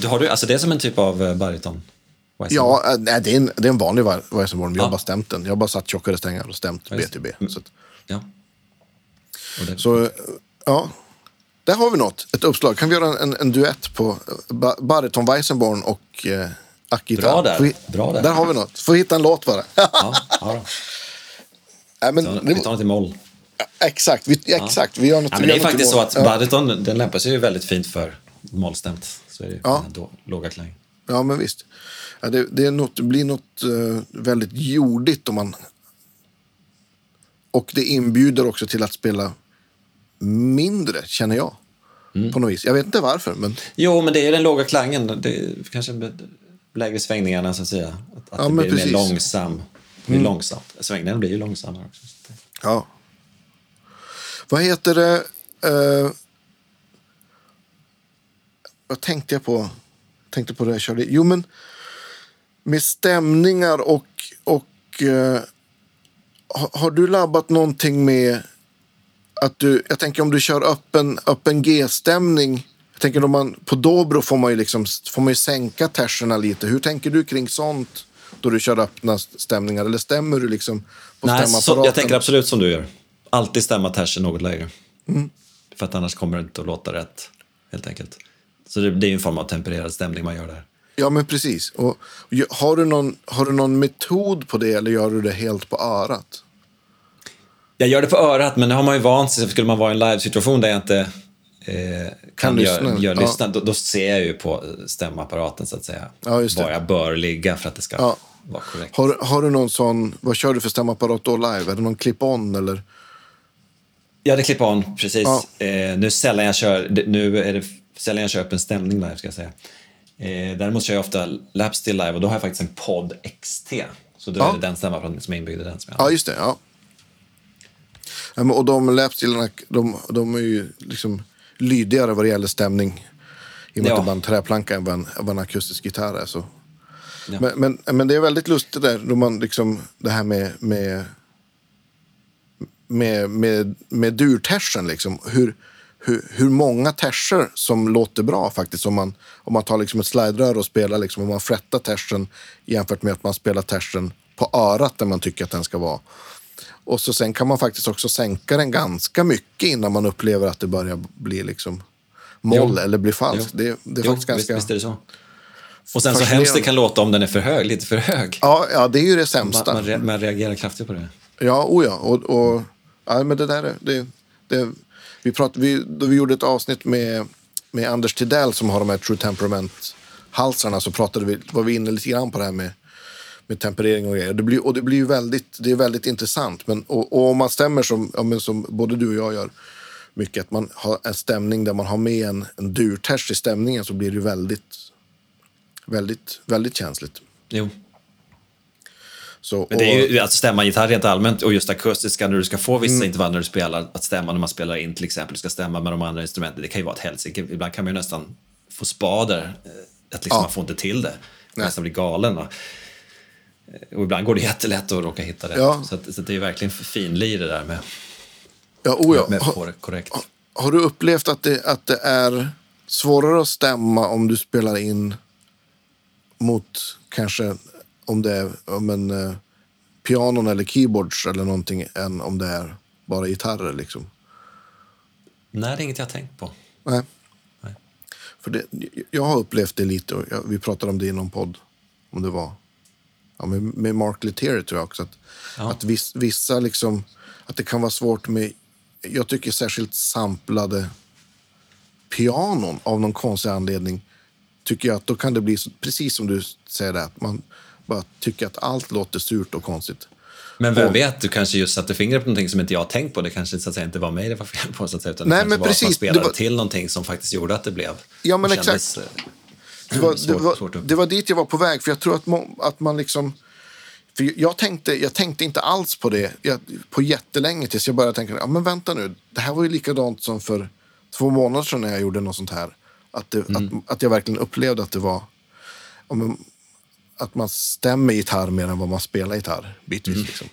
S3: Du har du, alltså det är som en typ av eh, baryton. Vad är det?
S2: Ja, äh, nej, det, är en, det är en vanlig Weis- Weissenborn. Jag har
S3: Ja.
S2: bara stämt den. Jag har bara satt tjockare strängar och stämt B
S3: just
S2: till B.
S3: det.
S2: Så, att,
S3: ja. Och det,
S2: så eh, ja. Där har vi något. Ett uppslag. Kan vi göra en, en duett på eh, ba, baryton Weissenborn och eh, Akita?
S3: Bra där.
S2: Får vi-
S3: Bra där.
S2: Där har vi något. Får hitta en låt bara.
S3: ja, ja då.
S2: nej, men,
S3: Så,
S2: det,
S3: Vi tar den till moll.
S2: exakt, vi, Mm, exakt. Vi gör något.
S3: Ja,
S2: vi
S3: men det
S2: gör
S3: är
S2: något
S3: faktiskt så
S2: imorgon.
S3: att
S2: Ja.
S3: baryton den lämpar sig ju väldigt fint för mollstämt. Så är det ju
S2: Ja.
S3: den här då- låga klang.
S2: Ja, men visst. Ja, det, det, är något, det blir något eh, väldigt jordigt om man... Och det inbjuder också till att spela mindre, känner jag. På något vis. Jag vet inte varför, men...
S3: Jo, men det är ju den låga klangen. Det är kanske med lägre svängningarna, så att säga. Att, att
S2: Ja,
S3: det
S2: men
S3: blir mer
S2: precis. Mm.
S3: långsam. Det blir långsamt. Svängningarna blir ju långsammare också.
S2: Ja. Vad heter det? Eh, vad tänkte jag på? Tänkte på det jag körde. Jo, men med stämningar och... och eh, ha- har du labbat någonting med att du... Jag tänker om du kör öppen, öppen G-stämning. Jag tänker om man, på dobro får man ju liksom får man ju sänka terserna lite. Hur tänker du kring sånt då du kör öppna stämningar? Eller stämmer du liksom på
S3: Nej, så, jag
S2: stämapparaten?
S3: tänker absolut som du gör. Alltid stämma tersen något lägre.
S2: Mm.
S3: För att annars kommer det inte att låta rätt, helt enkelt. Så det, det är ju en form av tempererad stämning man gör där.
S2: Ja, men precis. Och, ju- har, du någon, har du någon metod på det eller gör du det helt på örat?
S3: Jag gör det på örat, men det har man ju vant sig. Så skulle man vara i en livesituation där jag inte eh, kan
S2: lyssna.
S3: lyssna, gör,
S2: Ja.
S3: lyssna då, då ser jag ju på eh, stämapparaten, så att säga,
S2: Ja, just det.
S3: var jag bör ligga för att det ska
S2: Ja.
S3: vara korrekt.
S2: Har, har du någon sån, vad kör du för stämapparat då live? Är det någon clip-on eller?
S3: Jag hade klippa on, precis.
S2: Ja.
S3: Eh, nu sällan jag kör, d- nu är det f- sällan jag kör öppen stämning live, ska jag säga. Eh, däremot kör jag ofta Lapstill live och då har jag faktiskt en podd XT. Så då
S2: Ja.
S3: är det den stämapparaten som är inbyggd i den som jag
S2: Ja, just det. Ja. Ja, men- Och de lapstilarna, de, de är ju liksom lydigare vad det gäller stämning. I och med
S3: Ja.
S2: att det är bara en träplanka än vad en, vad en akustisk gitarr är. Så.
S3: Ja.
S2: Men, men, men det är väldigt lustigt där, då man liksom, det här med, med, med, med, med durtersen. Liksom. Hur, hur, hur många terser som låter bra faktiskt. Om man, om man tar liksom ett sliderör och spelar, liksom, om man frättar tersen jämfört med att man spelar tersen på örat där man tycker att den ska vara. Och så sen kan man faktiskt också sänka den ganska mycket innan man upplever att det börjar bli liksom moll
S3: Jo.
S2: eller bli falskt.
S3: Jo.
S2: Det, det är
S3: Jo,
S2: faktiskt ganska...
S3: visst, visst är det så. Och sen så
S2: fascinerande.
S3: hemskt det kan låta om den är för hög, lite för hög.
S2: Ja, ja, det är ju det
S3: Man,
S2: sämsta.
S3: man, re, man reagerar kraftigt på det.
S2: Ja, o ja. Och, och, ja men det där är... Det, det, vi, prat, vi, då vi gjorde ett avsnitt med, med Anders Tidell som har de här True Temperament-halsarna så pratade vi, var vi inne lite grann på det här med, med temperering och grejer. Det blir, och det blir ju väldigt, det är väldigt intressant. Men, och, och om man stämmer som, ja, men som både du och jag gör mycket, att man har en stämning där man har med en, en durters i stämningen så blir det ju väldigt, väldigt, väldigt känsligt.
S3: Jo.
S2: Så,
S3: Men det
S2: och- Mm.
S3: är ju alltså stämma gitarr rent allmänt och just akustiska när du ska få vissa intervall när du spelar, att stämma när man spelar in till exempel, du ska stämma med de andra instrumenten, det kan ju vara ett helsike. Ibland kan man ju nästan få spader, eh, att liksom man får inte till det. Man nästan blir galen. Och, och ibland går det jättelätt att råka hitta rätt.
S2: Ja.
S3: Så, att, så att det är ju verkligen finlir det där med,
S2: ja, o ja.
S3: med
S2: Ha-
S3: att få det korrekt.
S2: Har du upplevt att det, att det är svårare att stämma om du spelar in mot kanske om det är om en, eh, pianon eller keyboards eller någonting än om det är bara gitarrer? Liksom?
S3: Nej, det är inget jag har tänkt på.
S2: Nej.
S3: Nej.
S2: För det, jag har upplevt det lite och jag, vi pratade om det i någon podd. Om det var ja, med, med Mark Lettieri tror jag också. Att,
S3: Ja.
S2: att viss, vissa liksom, att det kan vara svårt med, jag tycker särskilt samplade pianon av någon konstig anledning. Tycker jag att då kan det bli så, precis som du säger där, att man bara tycker att allt låter surt och konstigt.
S3: Men vem vet, du kanske just satte fingret på någonting som inte jag har tänkt på. Det kanske så att säga, inte var mig det var fel på, så att säga, utan
S2: Nej,
S3: det kanske
S2: men
S3: var att man
S2: precis.
S3: spelade
S2: Det var-
S3: till någonting som faktiskt gjorde att det blev...
S2: Ja, men
S3: det kändes,
S2: exakt.
S3: eh,
S2: Det var,
S3: Svårt-
S2: det, var,
S3: svårt att-
S2: det var dit jag var på väg. För jag tror att, må, att man liksom... För jag, tänkte, jag tänkte inte alls på det jag, på jättelänge tills jag började tänka ja, men vänta nu, det här var ju likadant som för två månader sedan när jag gjorde något sånt här. Att, det,
S3: Mm.
S2: att, att jag verkligen upplevde att det var... ja, men, att man stämmer gitarr mer än vad man spelar gitarr bitvis.
S3: Mm.
S2: Liksom.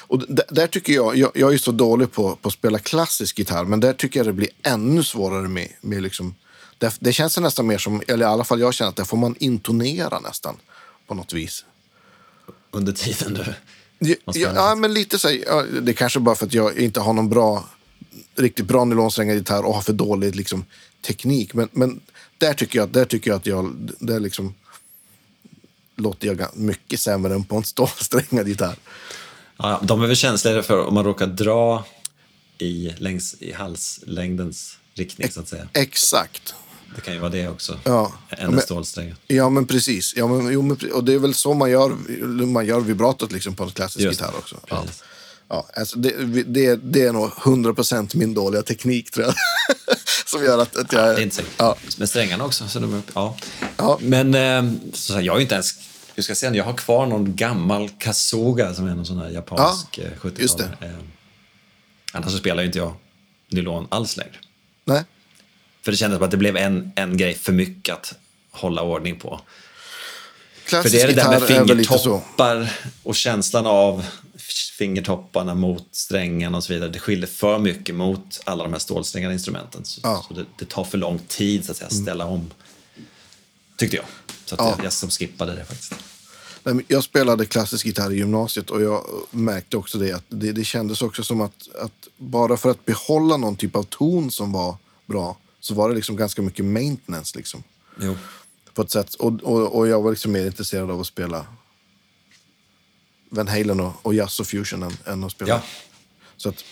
S2: Och d- där tycker jag, jag, jag är ju så dålig på, på att spela klassisk gitarr, men där tycker jag det blir ännu svårare med, med liksom, det, det känns nästan mer som, eller i alla fall jag känner att där får man intonera nästan på något vis.
S3: under tiden du...
S2: Ja,
S3: Man
S2: ja,
S3: spelar
S2: ja, men lite så. här, Ja, det kanske bara för att jag inte har någon bra, riktigt bra nylonsträngad gitarr och har för dålig liksom, teknik. Men, men där, tycker jag, där tycker jag att jag, där liksom, låter jag gan- mycket sämre än på en stålsträngad gitarr.
S3: Ja, de är väl känsligare för om man råkar dra i, längs, i halslängdens riktning, så att säga.
S2: Exakt.
S3: Det kan ju vara det också.
S2: Ja.
S3: Än en
S2: Men-
S3: stålsträng.
S2: Ja, men precis. Ja, men, jo, men, pre- och det är väl så man gör, man gör vibratot liksom, på en klassisk
S3: Just det.
S2: gitarr också. Ja.
S3: Precis.
S2: Ja, alltså det, vi- det, det är nog 100% min dåliga teknik, tror jag. Som gör att, att jag...
S3: Det är inte säkert.
S2: Ja.
S3: Med strängarna också. Så de är upp, ja.
S2: Ja.
S3: Men eh, så här, jag har ju inte ens... Jag ska se, jag har kvar någon gammal kasuga som är någon sån här japansk
S2: Ja,
S3: ja,
S2: just
S3: 70-tal.
S2: det.
S3: Eh, annars så spelar ju inte jag nylon alls längre.
S2: Nej.
S3: För det kändes som att det blev en, en grej för mycket att hålla ordning på. För
S2: Klassisk
S3: det är det där
S2: Alltså, gitarr
S3: med
S2: är väl lite så.
S3: fingertoppar och känslan av f- fingertopparna mot strängen och så vidare. Det skiljer för mycket mot alla de här stålsträngade instrumenten. Så,
S2: Ja. Mm.
S3: så det, det tar för lång tid så att säga, att ställa om. Tyckte jag. Så att
S2: Ja.
S3: jag, jag som skippade det faktiskt.
S2: Nej, men Jag spelade klassisk gitarr i gymnasiet och jag märkte också det att det, det kändes också som att, att bara för att behålla någon typ av ton som var bra så var det liksom ganska mycket maintenance. Liksom.
S3: Jo.
S2: På ett sätt. Och, och, och jag var liksom mer intresserad av att spela Van Halen och, och jazz och fusion än, än att spela.
S3: Ja.
S2: Så att,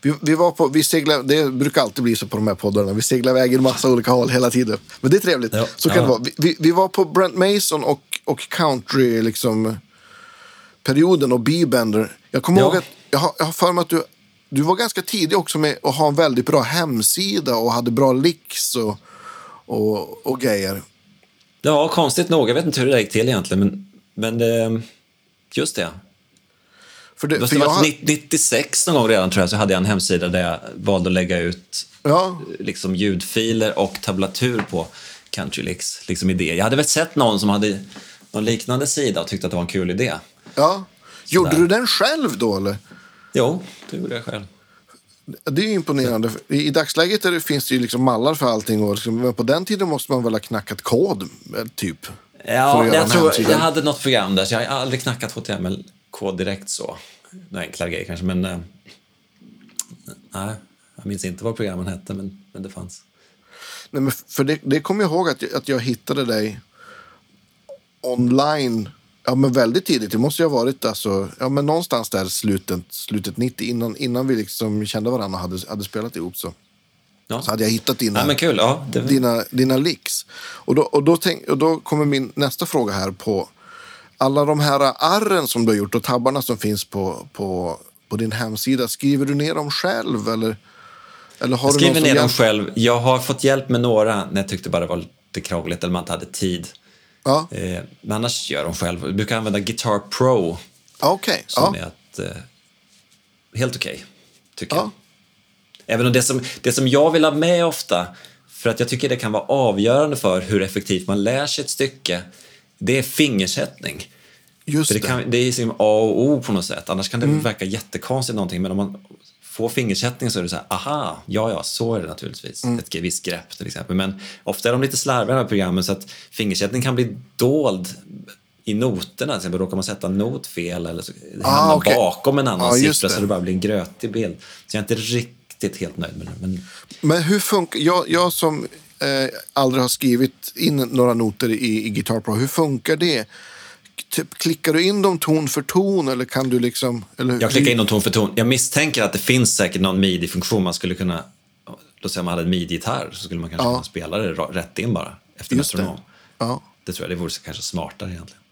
S2: vi, vi var på, vi seglar, det brukar alltid bli så på de här poddarna. Vi seglar iväg i en massa olika håll hela tiden. Men det är trevligt.
S3: Ja.
S2: Så kan
S3: Ja.
S2: det vara. Vi, vi, vi var på Brent Mason och, och country liksom, perioden och B-bender. Jag kommer
S3: Ja.
S2: ihåg att jag har, jag har för mig att du, du var ganska tidig också med att ha en väldigt bra hemsida och hade bra licks och, och, och grejer.
S3: Ja, konstigt nog. Jag vet inte hur det där gick till egentligen, men, men eh, just det.
S2: För det,
S3: Det måste
S2: för
S3: ha
S2: jag,
S3: varit
S2: har-
S3: 96 någon gång redan tror jag, så hade jag en hemsida där jag valde att lägga ut
S2: ja,
S3: liksom ljudfiler och tablatur på Countrylix liksom idé. Jag hade väl sett någon som hade någon liknande sida och tyckte att det var en kul idé.
S2: ja. Gjorde du den själv då eller?
S3: Jo, det gjorde jag själv.
S2: Det är ju imponerande. I i dagsläget är det, finns det ju liksom mallar för allting. Och liksom, men på den tiden måste man väl ha knackat kod, eh, typ. för
S3: Ja,
S2: att göra
S3: jag
S2: en
S3: tror
S2: hemsida.
S3: jag hade något program där, så jag har aldrig knackat HTML-kod direkt så. Några enklare grejer kanske, men... eh, Nej, jag minns inte vad programmen hette, men, men det fanns.
S2: Nej, men för det, det kommer jag ihåg att, jag- att jag hittade dig online. Ja, men väldigt tidigt. Det måste ju ha varit alltså, ja, men någonstans där slutet, slutet 90, innan, innan vi liksom kände varandra och hade, hade spelat ihop. Så,
S3: Ja,
S2: så hade jag hittat dina...
S3: ja men kul. Ja, det,
S2: dina, dina licks. Och då, och, då tänk, och då kommer min nästa fråga här på alla de här arren som du har gjort och tabbarna som finns på, på, på din hemsida. Skriver du ner dem själv eller, eller har
S3: jag
S2: du någon
S3: skriver
S2: som
S3: ner dem
S2: hjälper-
S3: själv. Jag har fått hjälp med några när jag tyckte bara det var lite krångligt eller man inte hade tid.
S2: Ja,
S3: Eh, men annars gör jag dem själv. Jag brukar använda Guitar Pro
S2: ja, okej.
S3: som
S2: Ja,
S3: är att, eh, helt okej, tycker
S2: Ja.
S3: jag. Även om det som, det som jag vill ha med ofta, för att jag tycker det kan vara avgörande för hur effektivt man lär sig ett stycke, det är fingersättning.
S2: just
S3: För det,
S2: det. Mm.
S3: kan, det är liksom A och O på något sätt, annars kan det verka jättekonstigt någonting, men om man får fingersättning så är det så här, aha, ja, ja, så är det naturligtvis.
S2: Mm.
S3: Ett visst grepp till exempel. Men ofta är de lite slarviga i de här programmen så att fingersättning kan bli dold i noterna, till exempel råkar man sätta en not fel eller så
S2: Ah,
S3: hamnar
S2: okej.
S3: bakom en annan
S2: Ja, just
S3: siffra
S2: det.
S3: så det bara blir en grötig bild. Så jag är inte riktigt helt nöjd med det. Men
S2: Men hur funkar... Jag, jag som eh, aldrig har skrivit in några noter i, i Guitar Pro, hur funkar det? Typ, klickar du in dem ton för ton eller kan du liksom... Eller,
S3: Jag klickar in dem ton för ton. Jag misstänker att det finns säkert någon midi-funktion man skulle kunna... Då säger man hade en midi-gitarr så skulle man kanske kunna spela det ra- rätt in bara efter
S2: Just det.
S3: metronom. Det.
S2: Ja.
S3: tror jag, det vore kanske smartare egentligen.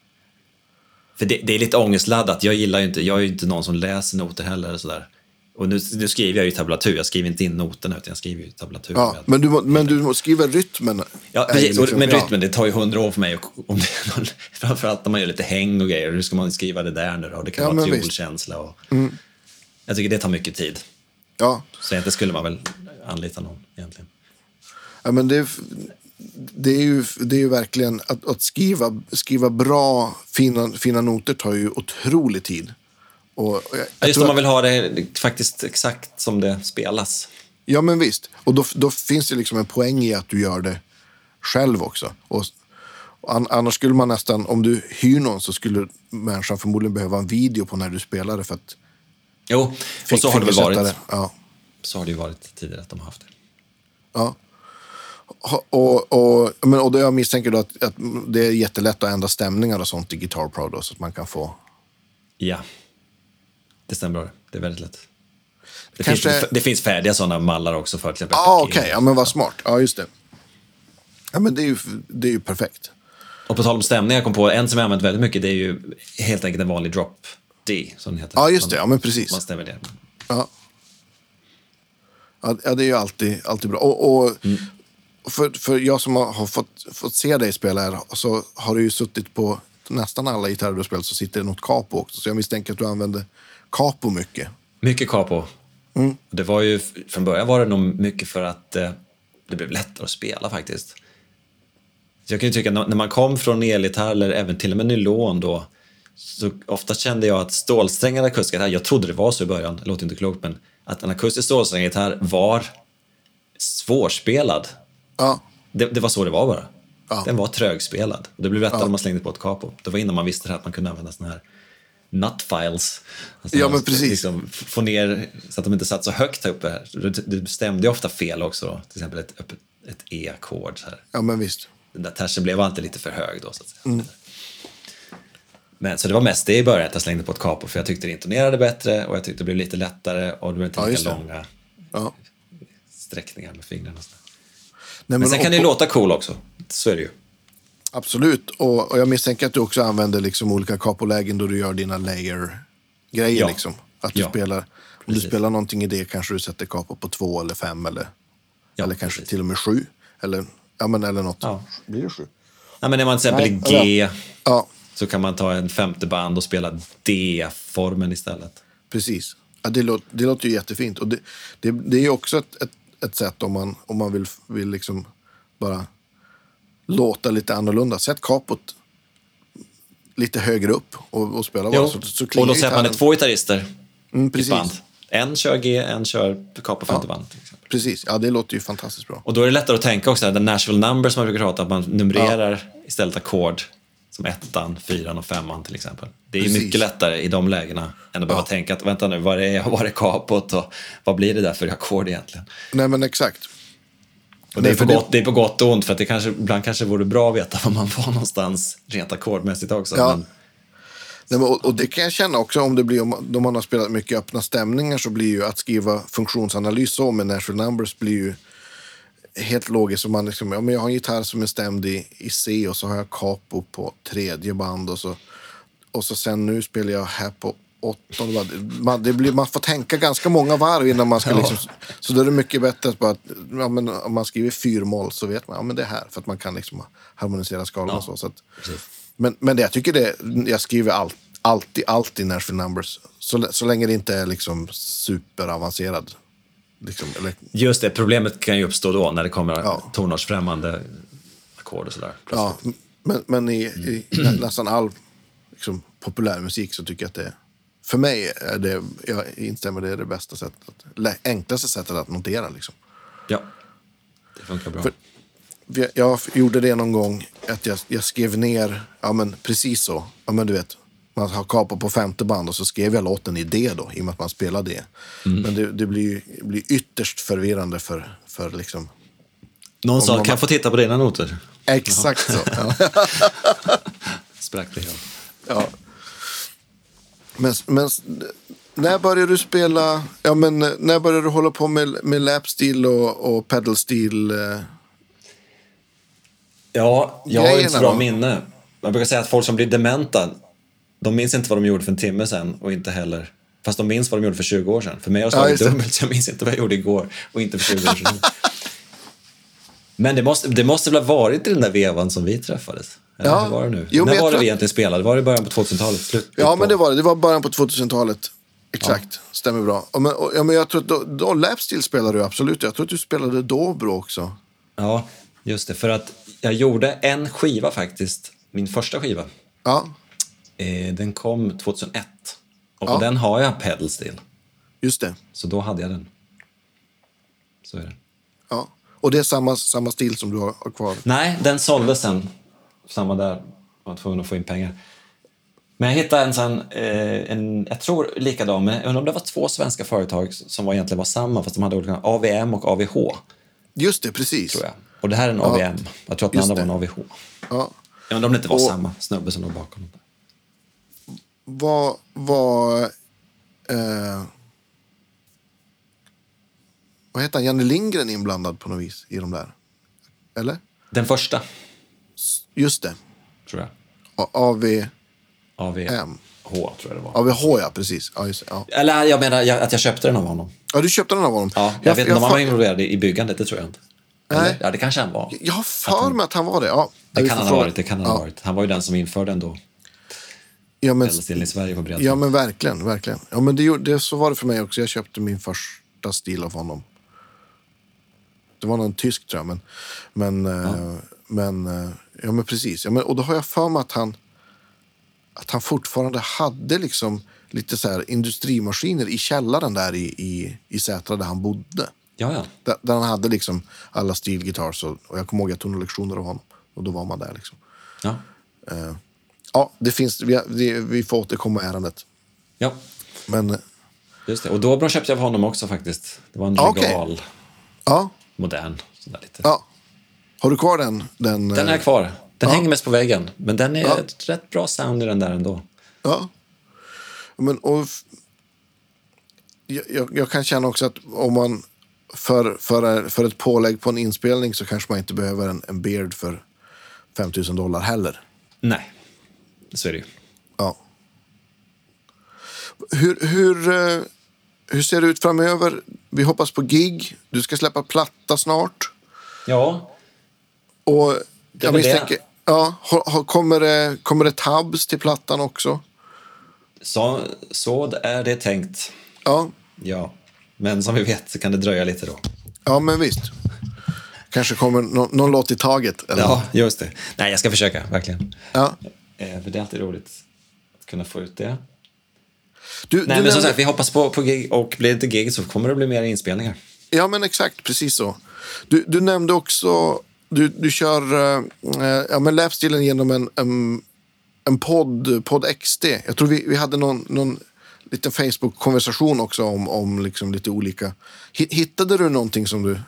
S3: För det, det är lite ångestladdat. Jag gillar ju inte, jag är ju inte någon som läser noter heller. Och, sådär. och nu, nu skriver jag ju tablatur, jag skriver inte in noterna utan jag skriver ju tablatur.
S2: Ja,
S3: med-
S2: men du, må- men du må- skriver rytmen.
S3: Ja,
S2: är ju
S3: precis. Och-
S2: liksom-
S3: men
S2: ja.
S3: rytmen, det tar ju hundra år för mig. och- Om det är någon, framförallt när man gör lite häng och grejer. Hur ska man skriva det där nu då? Det kan
S2: Ja,
S3: vara
S2: men visst. Mm.
S3: triolkänsla och... Jag tycker det tar mycket tid.
S2: Ja,
S3: Så inte skulle man väl anlita någon egentligen.
S2: ja men det, det, är ju, det är ju verkligen att, att skriva, skriva bra, fina, fina noter tar ju otrolig tid. Och jag, jag
S3: Ja, just
S2: tror
S3: om
S2: att-
S3: man vill ha det faktiskt exakt som det spelas.
S2: ja, men visst. Och då, då finns det liksom en poäng i att du gör det själv också. Och, och an, annars skulle man nästan, om du hyr någon så skulle människan förmodligen behöva en video på när du spelar det för att
S3: Jo, och så har det väl
S2: fingersätta
S3: varit.
S2: det. Ja.
S3: Så har det ju varit tidigare att de har haft det.
S2: Ja. Ha- Och, och, men, och då jag misstänker då att, att det är jättelätt att ändra stämningar och sånt i Guitar Pro då, så att man kan få...
S3: Ja, det stämmer bra. Det är väldigt lätt. Det,
S2: Kanske-
S3: finns, det finns färdiga sådana mallar också för till exempel.
S2: Ja, ah, okej. Ja, men vad smart. Ja, just det. Ja, men det är ju, det är ju perfekt.
S3: Och på tal om stämningar, jag kom på en som jag använt väldigt mycket, det är ju helt enkelt en vanlig drop D, som den heter.
S2: Ja, just det. Ja, men precis.
S3: Man stämmer det.
S2: Ja. Ja, det är ju alltid, alltid bra. Och, och
S3: Mm.
S2: för, för jag som har, har fått, fått se dig spela här, så har du ju suttit på nästan alla gitarrer du har spelat så sitter det något capo också. Så jag misstänker att du använder capo mycket.
S3: Mycket capo.
S2: Mm.
S3: Det var ju, från början var det nog mycket för att eh, det blev lättare att spela faktiskt. Så jag kan ju tycka, när när man kom från elgitarr eller även till och med nylon då, så ofta kände jag att stålsträngad akustisk gitarr, jag trodde det var så i början, det låter inte klokt, men att en akustisk stålsträngad gitarr var svårspelad.
S2: Ja,
S3: Det, det var så det var bara.
S2: Ja.
S3: Den var trögspelad. Och det blev lättare om man slängde på ett capo. Det var innan man visste det här att man kunde använda såna här nutfiles. Alltså
S2: Ja, men precis.
S3: Liksom, f- få ner så att de inte satt så högt här uppe. Det, det stämde ju ofta fel också. Då. Till exempel ett, öppet- ett E-ackord. så här.
S2: ja men visst.
S3: den där tersen blev alltid lite för hög då. Så att säga.
S2: Mm.
S3: Men så det var mest det i början, att jag slängde på ett capo för jag tyckte det intonerade bättre och jag tyckte det blev lite lättare och det blev inte
S2: Ja, just
S3: lika
S2: det.
S3: långa
S2: Ja.
S3: sträckningar med fingrarna. Och sådär.
S2: Nej,
S3: Men sen
S2: och-
S3: kan det ju låta cool också, så är det ju.
S2: Absolut, och, och jag misstänker att du också använder liksom olika kapolägen då du gör dina layer-grejer.
S3: Ja.
S2: Liksom. Att du
S3: Ja.
S2: spelar, om du
S3: Precis.
S2: spelar någonting i det kanske du sätter kapo på två eller fem eller,
S3: Ja,
S2: eller kanske
S3: precis.
S2: till och med sju. Eller, ja, men, eller något.
S3: Ja.
S2: Blir det sju?
S3: Nej, men när man till exempel
S2: Nej,
S3: är G
S2: Ja,
S3: så kan man ta en femte band och spela D-formen istället.
S2: precis. Ja, det, låter, det låter ju jättefint. Och det, det, det är ju också ett, ett, ett sätt om man, om man vill, vill liksom bara låta lite annorlunda. Sätt kapot lite högre upp och, och spela bara.
S3: Jo.
S2: Så, så
S3: och
S2: klingar
S3: då släpper man
S2: gitarren.
S3: det två gitarrister
S2: Mm,
S3: i ett
S2: precis.
S3: band. En kör G, en kör capo femte band. till exempel.
S2: Precis, ja det låter ju fantastiskt bra.
S3: Och då är det lättare att tänka också, den Nashville number som man brukar prata om, att man numrerar istället ackord som ettan, fyran och femman till exempel. Det är ju
S2: Precis.
S3: mycket lättare i de lägena än att behöva tänka att vänta nu, vad är, vad är kapot och vad blir det där för ackord egentligen?
S2: Nej men exakt.
S3: Och det,
S2: Nej,
S3: är på
S2: för det-
S3: gott, det är på gott och ont, för att det kanske, ibland kanske vore bra att veta var man var någonstans rent ackordmässigt också.
S2: Ja.
S3: Men,
S2: Nej, men, och, och det kan jag känna också om det blir om, om man har spelat mycket öppna stämningar så blir ju att skriva funktionsanalys så med Nashville Numbers blir ju helt logiskt. Om man liksom, ja, men jag har en gitarr som är stämd i, i C och så har jag capo på tredje band och så, och så sen nu spelar jag här på åttonde band. Man, det blir, man får tänka ganska många varv innan man ska liksom, så då är det mycket bättre att bara, att, ja, men, om man skriver fyrmål så vet man, ja men det är här för att man kan liksom harmonisera skalorna och så. så att, men, men det, jag tycker det, jag skriver all, alltid, alltid Nashville Numbers. Så, lä- så länge det inte är liksom superavancerad. Liksom, eller,
S3: just det, problemet kan ju uppstå då när det kommer tonartsfrämmande ackord och sådär.
S2: ja, men men i, i nä- nästan all liksom, populärmusik så tycker jag att det för mig är det, jag instämmer, det är det bästa sättet, att- lä- enklaste sättet att notera. Liksom.
S3: Ja, det funkar bra.
S2: Jag, jag gjorde det någon gång, att jag, jag skrev ner, ja men precis så, ja men du vet, man har kapat på femte band och så skrev jag låten i D då, i och med att man spelar D. Men det, det blir ju blir ytterst förvirrande för, för liksom,
S3: Någon sa,
S2: man-
S3: kan jag få titta på dina noter?
S2: exakt så. Ja.
S3: Sprack det helt.
S2: Ja. Men, men när började du spela, ja men eh, när började du hålla på med, med lapstil och, och pedalstil? eh?
S3: Ja, jag har ju inte så
S2: Grejerna
S3: bra
S2: då?
S3: minne. Man brukar säga att folk som blir dementa, de minns inte vad de gjorde för en timme sedan och inte heller Fast de minns vad de gjorde för 20 år sedan. För mig har
S2: Ja,
S3: slagit
S2: just det.
S3: dubbelt, så jag minns inte vad jag gjorde igår och inte för 20 år sedan. Men det måste, det måste väl ha varit i den där vevan som vi träffades? Eller
S2: Ja.
S3: hur var det nu?
S2: Jo, men
S3: När
S2: jag
S3: var det
S2: tror-
S3: vi egentligen spelade? Var det i början på 2000-talet? Slut,
S2: Ja,
S3: på-
S2: men det var det. Det var början på 2000-talet. Exakt, stämmer bra. Och, men, och, ja, men jag tror att då, då Lapstil spelade du absolut. Jag tror att du spelade Dobro också.
S3: Ja, just det. För att jag gjorde en skiva faktiskt, min första skiva.
S2: Ja,
S3: Eh, den kom 2001. Och
S2: Ja.
S3: på den har jag pedals till.
S2: just det.
S3: Så då hade jag den. Så är det.
S2: Ja. Och det är samma, samma stil som du har, har kvar.
S3: Nej, den såldes sen. Samma där. Jag var tvungen att få in pengar. Men jag hittade en sån, eh, en, jag tror likadan, men jag undrar om det var två svenska företag som var egentligen var samma, fast de hade olika AVM och AVH,
S2: Just det, precis.
S3: tror jag. Och det här är en AVM. Jag tror att den
S2: just
S3: andra
S2: det.
S3: var en AVH.
S2: Ja.
S3: Jag undrar om det inte var
S2: Och-
S3: samma snubbe som låg bakom. dem.
S2: Vad var... Eh, vad heter han? Janne Lindgren inblandad på något vis i de där? Eller?
S3: Den första,
S2: Just det.
S3: tror jag.
S2: A- AV,
S3: AVH, tror jag det var.
S2: AVH, ja precis. Ja, just, det. ja.
S3: Eller jag menar jag, att jag köpte den av honom.
S2: ja, du köpte den av honom.
S3: Ja, jag, vet inte om han var involverad i i byggandet, det tror jag inte. Eller? Ja, det kanske han var.
S2: Jag har för mig att han var det. Ja,
S3: Det
S2: vi
S3: kan
S2: får
S3: han ha
S2: fråga.
S3: varit. Det kan han ha
S2: ja.
S3: varit. Han var ju den som införde ändå
S2: Ja, men,
S3: pedalstilen i Sverige på bred
S2: ja,
S3: front.
S2: men verkligen. verkligen. Ja, men det, gjorde- det, så var det för mig också. Jag köpte min första stil av honom. Det var någon tysk, tror jag. Men, men, eh, men, eh, ja, men precis. Ja, men, och då har jag för mig att han, att han fortfarande hade liksom lite så här industrimaskiner i källaren där i, i, i Sätra där han bodde.
S3: Ja, ja.
S2: Där, där han hade liksom alla stilgitarrer. Och, och jag kommer ihåg att jag tog några lektioner av honom. Och då var man där liksom.
S3: ja.
S2: Ja, det finns, vi, det, vi får återkomma i ärendet.
S3: ja.
S2: Men eh,
S3: Just det. Och Dobro köpte jag av honom också faktiskt. Det var en
S2: Ja, okej.
S3: regal,
S2: Ah, ja,
S3: modern. Sådär lite.
S2: ja. Har du kvar den? Den,
S3: Den
S2: eh,
S3: är kvar. Den hänger mest på väggen, men den är ett rätt bra sound i den där ändå.
S2: Ja. Men, och, f- jag, jag, jag kan känna också att om man för, för, för ett pålägg på en inspelning så kanske man inte behöver en, en beard för 5 000 dollar heller.
S3: Nej, så är det ju.
S2: Ja. Hur, hur, eh, hur ser det ut framöver? Vi hoppas på gig. Du ska släppa platta snart.
S3: Ja,
S2: Och
S3: är
S2: jag
S3: väl det.
S2: misstänker, ja, har, har, kommer, det, kommer det tabs till plattan också?
S3: så, så är det tänkt.
S2: Ja,
S3: Ja, men som vi vet så kan det dröja lite då.
S2: ja men visst. Kanske kommer nå- någon låt i taget. Eller?
S3: Ja, just det. Nej, jag ska försöka, verkligen.
S2: Ja.
S3: Eh, för det är alltid roligt att kunna få ut det.
S2: Du,
S3: Nej,
S2: du
S3: men som
S2: nämnde-
S3: sagt, vi hoppas på, på gig och blir det inte gig så kommer det bli mer inspelningar.
S2: Ja, men exakt. Precis så. Du, du nämnde också... Du, du kör eh, eh, ja, men löpstilen genom en, en, en podd, podd XD. Jag tror vi, vi hade någon, någon liten Facebook-konversation också om, om liksom lite olika... Hi- Hittade du någonting som du...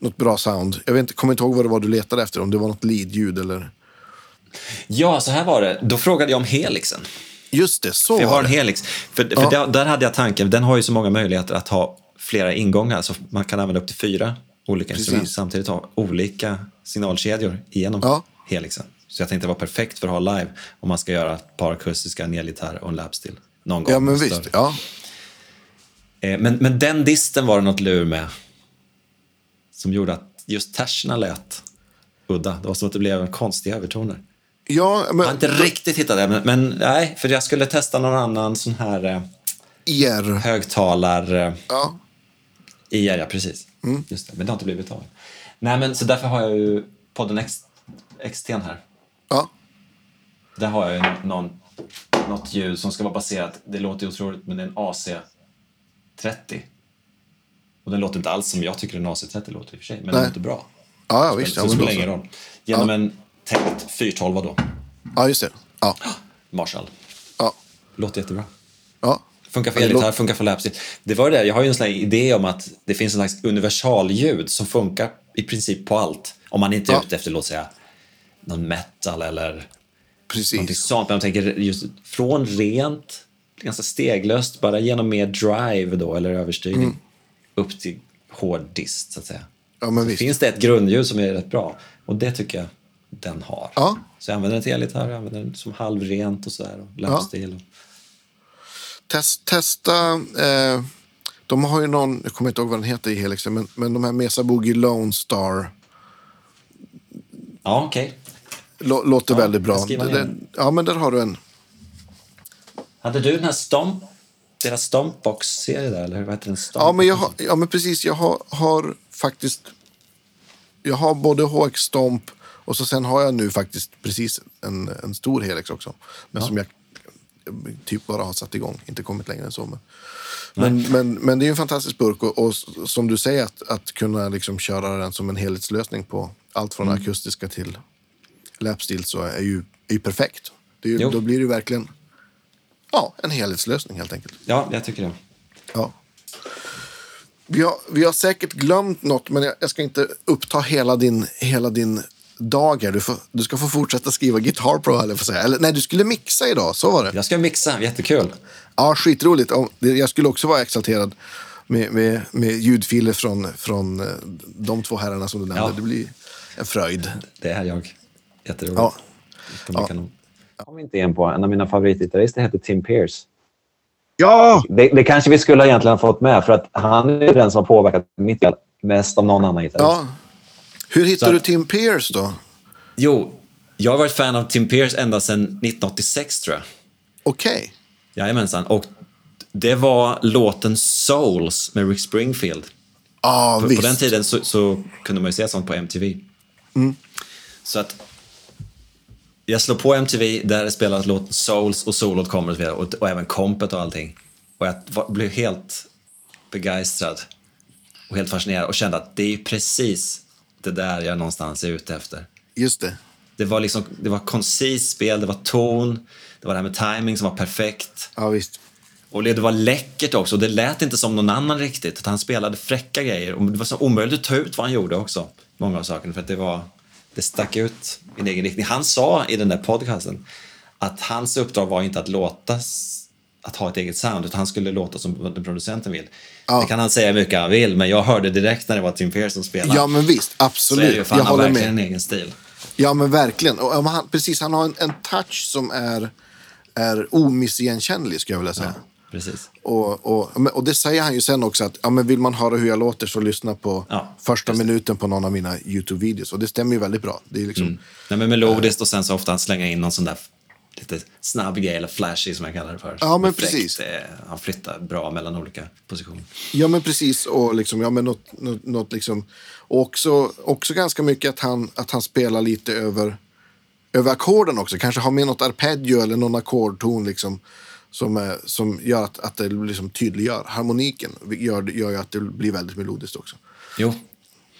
S2: Något bra sound? Jag vet inte, kommer inte ihåg vad det var du letade efter. Om det var något lead-ljud eller...
S3: Ja, så här var det. Då frågade jag om helixen.
S2: Just det, så
S3: Vi
S2: var
S3: har en
S2: det.
S3: helix. För, för där, där hade jag tanken, den har ju så många möjligheter att ha flera ingångar. Så man kan använda upp till fyra olika instrument samtidigt ha olika signalkedjor genom
S2: Ja.
S3: helixen. Så jag tänkte det var perfekt för att ha live om man ska göra ett par akustiska, en elgitarr och en lapstil någon gång.
S2: Ja, men
S3: Större.
S2: visst. Ja.
S3: Eh, Men, men den disten var det något lur med som gjorde att just terserna lät udda. Det var som att det blev konstiga övertoner.
S2: Ja, men
S3: Jag har inte riktigt hittat det, men, men nej, för jag skulle testa någon annan sån här eh,
S2: er.
S3: högtalar... Eh,
S2: Ja.
S3: IR, ja precis. Just det, men det har inte blivit av. Nej, men så därför har jag ju podden X, XT här.
S2: ja.
S3: Där har jag ju någon, något ljud som ska vara baserat, det låter ju otroligt, men det är en AC30. Och den låter inte alls som jag tycker en AC30 låter i och för sig, men den
S2: Nej.
S3: låter bra.
S2: Ja, ja, visst.
S3: så
S2: Ja,
S3: det
S2: men
S3: spelar
S2: då
S3: ingen
S2: så.
S3: roll. Genom en tänkt 412 då,
S2: ja just det. Ja.
S3: Marshall.
S2: Ja.
S3: Låter jättebra.
S2: ja.
S3: Funkar för
S2: Ja, det
S3: elgitarr,
S2: låter-
S3: funkar för lapstil. Det var det där, jag har ju en sån här idé om att det finns en slags universalljud som funkar i princip på allt. Om man inte är
S2: Ja.
S3: ute efter, låt säga, någon metal eller någonting
S2: Precis.
S3: sånt. Men jag tänker just från rent, ganska steglöst, bara genom mer drive då, eller överstyrning,
S2: Mm.
S3: upp till hård dist, så att säga.
S2: Ja, men
S3: Så
S2: visst.
S3: finns det ett grundljud som är rätt bra, och det tycker jag den har.
S2: Ja.
S3: Så jag använder den till elgitarr, jag använder den som halvrent och sådär, och lapstil. Och...
S2: test, testa... Eh, de har ju någon, jag kommer inte ihåg vad den heter i Helixen, men, men de här Mesa Boogie Lone Star
S3: Ja, okej.
S2: lå, låter väldigt bra.
S3: jag skriver ner
S2: Det- det- ja, men där har du en.
S3: Hade du den här Stomp, deras Stompbox-serie där, eller vad heter den? Stomp?
S2: Ja, men, jag, har- ja, men precis, jag har, har faktiskt... Jag har både HX Stomp och så sen har jag nu faktiskt precis en, en stor Helix också. Men som jag typ bara har satt igång, inte kommit längre än så. Men, men, men, men det är ju en fantastisk burk och, och s- som du säger att, att kunna liksom köra den som en helhetslösning på allt från akustiska till lapstil så är ju, är ju perfekt. Det är ju,
S3: Jo.
S2: då blir det ju verkligen ja, en helhetslösning helt enkelt.
S3: ja, jag tycker det.
S2: Ja. Vi har, vi har säkert glömt något, men jag, jag ska inte uppta hela din, hela din dag här. Du, får, du ska få fortsätta skriva Guitar Pro, eller, jag får säga. eller nej, du skulle mixa idag. Så var det.
S3: Jag ska mixa, jättekul.
S2: Ja, skitroligt. Om- det- Jag skulle också vara exalterad med, med, med ljudfiler från, från eh, de två herrarna som du nämnde.
S3: Ja.
S2: Det blir en fröjd.
S3: Det är jag. Jätteroligt.
S2: Ja.
S3: Det kommer kanon. Jag kom inte in på en av mina favoritgitarrister hette Tim Pierce.
S4: Ja!
S3: Det, det kanske vi skulle ha egentligen fått med för att han är den som har påverkat mitt spel mest av någon annan gitarrist.
S2: Ja. Hur
S3: Så-
S2: hittar du Tim Pierce då?
S3: Jo, jag har varit fan av Tim Pierce ända sedan 1986 tror jag.
S2: Okej.
S3: Jajamensan. Och det var låten Souls med Rick Springfield.
S2: Ja,
S3: På,
S2: visst.
S3: på den tiden så, så kunde man ju se sånt på MTV. Så att jag slår på MTV, där spelas låten Souls och solot kommer och så vidare, och, och även kompet och allting. Och jag var, blev helt begeistrad och helt fascinerad och kände att det är ju precis det där jag någonstans är ute efter.
S2: Just det.
S3: Det var liksom, det var koncist spel, det var ton, det var det här med timing som var perfekt.
S2: Ja, visst.
S3: Och det var läckert också. Det lät inte som någon annan riktigt. Att han spelade fräcka grejer. Och det var så omöjligt att ta ut vad han gjorde också. Många av sakerna. För att det var... Det stack ut i en egen riktning. Han sa i den där podcasten att hans uppdrag var inte att låta... s- Att ha ett eget sound. Utan han skulle låta som den producenten vill. Det kan han säga hur mycket han vill. Men jag hörde direkt när det var Tim Ferriss som spelade.
S2: Ja, men visst.
S3: så är det ju.
S2: Absolut.
S3: För
S2: Jag
S3: han har
S2: håller
S3: verkligen
S2: med.
S3: en egen stil.
S2: Ja, men verkligen. Och, ja, men han, precis, han har en, en touch som är, är omissigenkännlig, skulle jag vilja säga.
S3: Precis.
S2: Och, och, men- och det säger han ju sen också att ja, men vill man höra hur jag låter så lyssna på
S3: Ja,
S2: första minuten på någon av mina Youtube-videos. Och det stämmer ju väldigt bra. Det är liksom,
S3: Nej, men melodiskt och sen så ofta han slänger in någon sån där lite snabb grej eller flashy som jag kallar det för.
S2: Ja, men
S3: Fräckt,
S2: precis.
S3: eh, Han flyttar bra mellan olika positioner.
S2: Ja, men precis. Och liksom, ja, men något, något, något liksom. och också, också ganska mycket att han, att han spelar lite över, över ackorden också. Kanske har med något arpeggio eller någon ackordton liksom, som, är, som gör att, att det liksom tydliggör harmoniken. Gör, gör ju att det blir väldigt melodiskt också.
S3: Jo.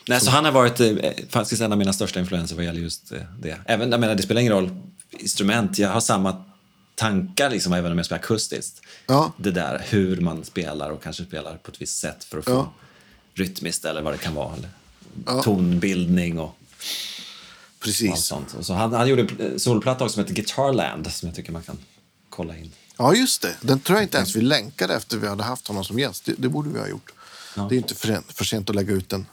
S3: Nej, så han har varit eh, faktiskt en av mina största influenser vad gäller just eh, det. Även, jag menar, det spelar ingen roll instrument. Jag har samma tankar liksom, även om jag spelar akustiskt.
S2: Ja.
S3: Det där hur man spelar och kanske spelar på ett visst sätt för att få
S2: Ja.
S3: rytmiskt eller vad det kan vara. Eller Tonbildning och allt
S2: Precis.
S3: sånt. Och så han, han gjorde en solplatta också som heter Guitarland som jag tycker man kan kolla in.
S2: Ja, just det. Den tror jag inte ens vi länkade efter vi hade haft honom som gäst. Det, det borde vi ha gjort. Det är inte för sent, för sent att lägga ut den.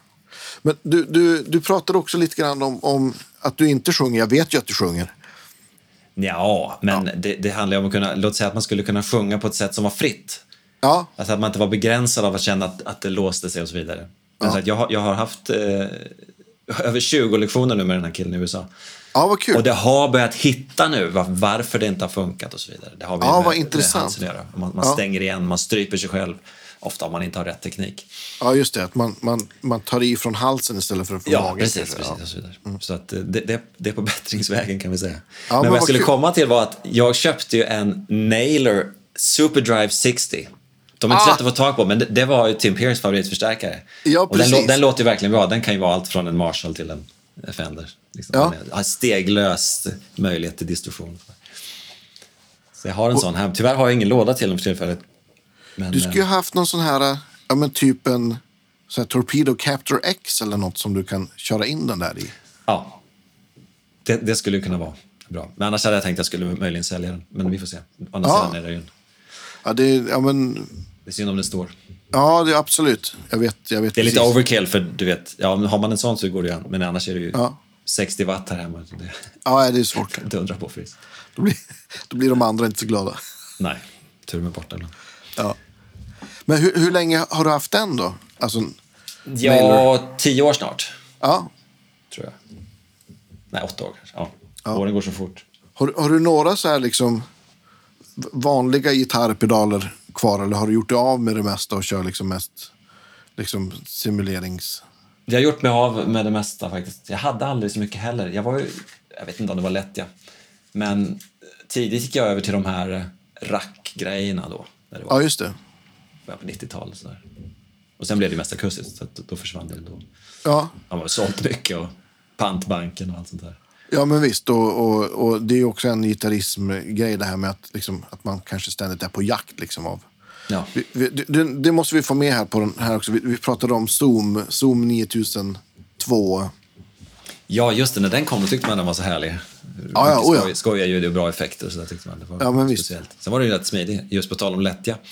S2: Men du, du, du pratade också lite grann om, om att du inte sjunger. Jag vet ju att du sjunger.
S3: Ja, men Det, det handlar ju om att kunna, låt säga att man skulle kunna sjunga på ett sätt som var fritt.
S2: Ja,
S3: Alltså att man inte var begränsad av att känna att, att det låste sig och så vidare. Men så att jag, har- jag har haft eh, över 20 lektioner nu med den här killen i USA.
S2: ja vad kul.
S3: Och det har börjat hitta nu var, varför det inte har funkat och så vidare. Det har vi
S2: Ja,
S3: med-
S2: vad
S3: med
S2: intressant.
S3: hans att göra. Man, man
S2: Ja.
S3: stänger igen, man stryper sig själv. Ofta om man inte har rätt teknik.
S2: Ja, just det. Att man, man, man tar i från halsen istället för från
S3: Ja,
S2: magen.
S3: precis.
S2: kanske.
S3: precis och så vidare. Så att eh, det, det, det är på bättringsvägen kan vi säga. men,
S2: men
S3: vad
S2: vad
S3: jag skulle
S2: kul.
S3: komma till var att jag köpte ju en Nailer Superdrive 60. De är inte så lätta att få tag på, men det, det var ju Tim Pears favoritförstärkare.
S2: Ah! Ja,
S3: och den, lå-
S2: precis.
S3: den låter ju verkligen bra. Den kan ju vara allt från en Marshall till en Fender. Liksom.
S2: Ja.
S3: Den Har steglös möjlighet till distorsion. Så jag har en sån här. Tyvärr har jag ingen låda till den för tillfället. Men,
S2: Du
S3: eh,
S2: skulle ju haft någon sån här, äh, ja men typ en sån här Torpedo Captor X eller något som du kan köra in den där i.
S3: Ja. Det, det skulle ju kunna vara bra. Men annars hade jag tänkt att jag skulle möjligen sälja den. Men vi får se. Å andra
S2: Ja.
S3: sidan är det ju...
S2: Ja, det är, ja men,
S3: Det är synd om den står.
S2: ja det är absolut. Jag vet, jag vet
S3: Det är lite
S2: precis.
S3: overkill för du vet, ja, men har man en sån så går det ju an. Men annars är det ju
S2: Ja.
S3: 60 watt här hemma. Det
S2: Ja, det är svårt.
S3: kan inte undra på förresten.
S2: Då blir, då blir de andra inte så glada.
S3: Nej, tur med bort den.
S2: Ja. Men hur, hur länge har du haft den då? Alltså,
S3: Ja, 10 år snart,
S2: ja.
S3: tror jag. Nej, 8 år kanske. Ja. Åren går så fort.
S2: Har, har du några så här liksom v- vanliga gitarrpedaler kvar eller har du gjort dig av med det mesta och kör liksom mest liksom simulerings...
S3: Jag har gjort mig av med det mesta faktiskt. Jag hade aldrig så mycket heller. Jag var ju, jag vet inte om det var lätt ja. Men tidigt gick jag över till de här eh, rackgrejerna då. När det var
S2: Ja, just det.
S3: början på 90-talet sådär. Och sen blev det mest akustiskt, så att då försvann det då.
S2: Ja,
S3: Han har sålt mycket och pantbanken och allt sånt där.
S2: ja men visst. Och, och, och det är ju också en gitarrismgrej det här med att, liksom, att man kanske ständigt är på jakt liksom av...
S3: Ja.
S2: Vi, vi, det, det måste vi få med här på den här också. Vi, vi pratade om Zoom, Zoom 9002.
S3: ja, just det. När den kom då tyckte man den var så härlig.
S2: ja,
S3: Mycket
S2: oja.
S3: skoj- Skojiga ljud och bra effekter. Så där tyckte man. Det var
S2: Ja, men visst.
S3: speciellt. Sen var den ju rätt smidig, just på tal om lättja.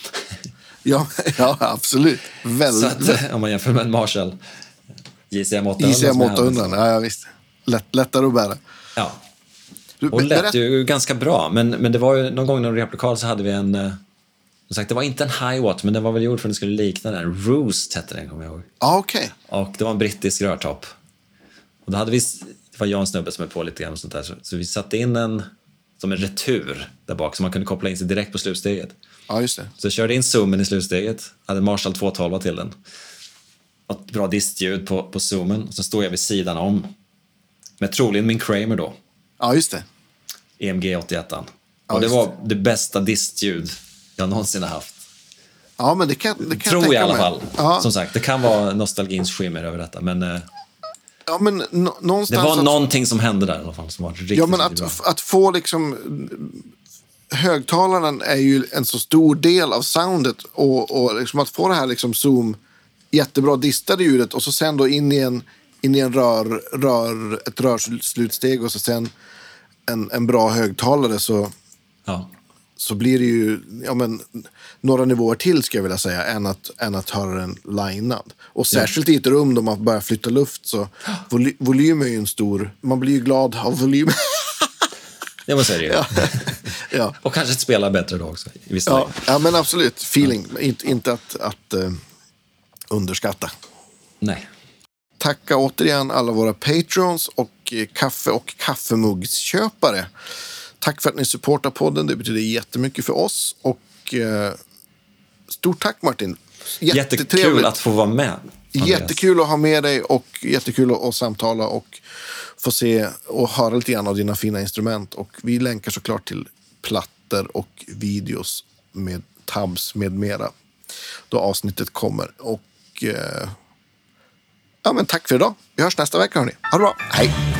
S2: Ja, ja absolut.
S3: så
S2: Väldigt.
S3: att, eh, om man jämför med en Marshall eh, JCM 800. som
S2: ICM
S3: jag hade.
S2: 800, ja, ja visst. Lätt, lättare att bära.
S3: Ja,
S2: Du,
S3: och
S2: berätta-
S3: lät ju ganska bra. Men, men det var ju någon gång när vi replokal så hade vi en... eh, Som sagt, det var inte en hi-watt, men den var väl gjord för att den skulle likna den. Roost hette den, kommer jag ihåg.
S2: Ja, okej.
S3: Och det var en brittisk rörtopp. Och då hade vi, det var jag och en snubbe som är på lite grann och sånt där. Så, så vi satte in en, som en retur där bak så man kunde koppla in sig direkt på slutsteget.
S2: Ja, just det.
S3: Så jag körde in zoomen i slutsteget, hade en Marshall 212 till den. Och ett bra distljud på, på zoomen. Och så stod jag vid sidan om. Med troligen min Kramer då,
S2: Ja, just det.
S3: EMG 81.
S2: Ja,
S3: och det
S2: just
S3: var det bästa distljud jag någonsin har haft.
S2: Ja, men det kan, det kan
S3: Tror jag i
S2: tänka
S3: alla
S2: mig.
S3: fall.
S2: Ja,
S3: Som sagt, det kan vara nostalgins skimmer över detta. Men, eh,
S2: ja men nå-
S3: Det
S2: någonstans...
S3: var
S2: att-
S3: någonting som hände där i alla fall som var riktigt,
S2: Ja, men
S3: riktigt bra.
S2: att, att få liksom högtalaren är ju en så stor del av soundet och, och liksom att få det här liksom zoom jättebra distade ljudet och så sen då in i en, in i en rör, rör, ett rörslutsteg och så sen en, en bra högtalare så,
S3: Ja.
S2: så blir det ju ja, men, några nivåer till ska jag vilja säga än att, än att höra den linead. Och särskilt i ett rum då man börjar flytta luft så voly, volym är ju en stor, man blir ju glad av volym.
S3: ja, men så är det ju.
S2: ja.
S3: Och kanske spela bättre då också. I vissa
S2: Ja,
S3: lägen.
S2: ja, men absolut. Feeling. Inte, inte att, att eh, underskatta.
S3: Nej.
S2: Tacka återigen alla våra patrons och eh, kaffe och kaffemuggsköpare. Tack för att ni supportar podden. Det betyder jättemycket för oss. Och eh, stort tack Martin.
S3: Jättekul att få vara med. Andreas.
S2: Jättekul att ha med dig och jättekul att, att samtala och få se och höra lite grann av dina fina instrument. Och vi länkar såklart till plattor och videos med tabs med mera då avsnittet kommer. Och eh, ja, men tack för idag. Vi hörs nästa vecka. Hörni. Ha det bra. Hej!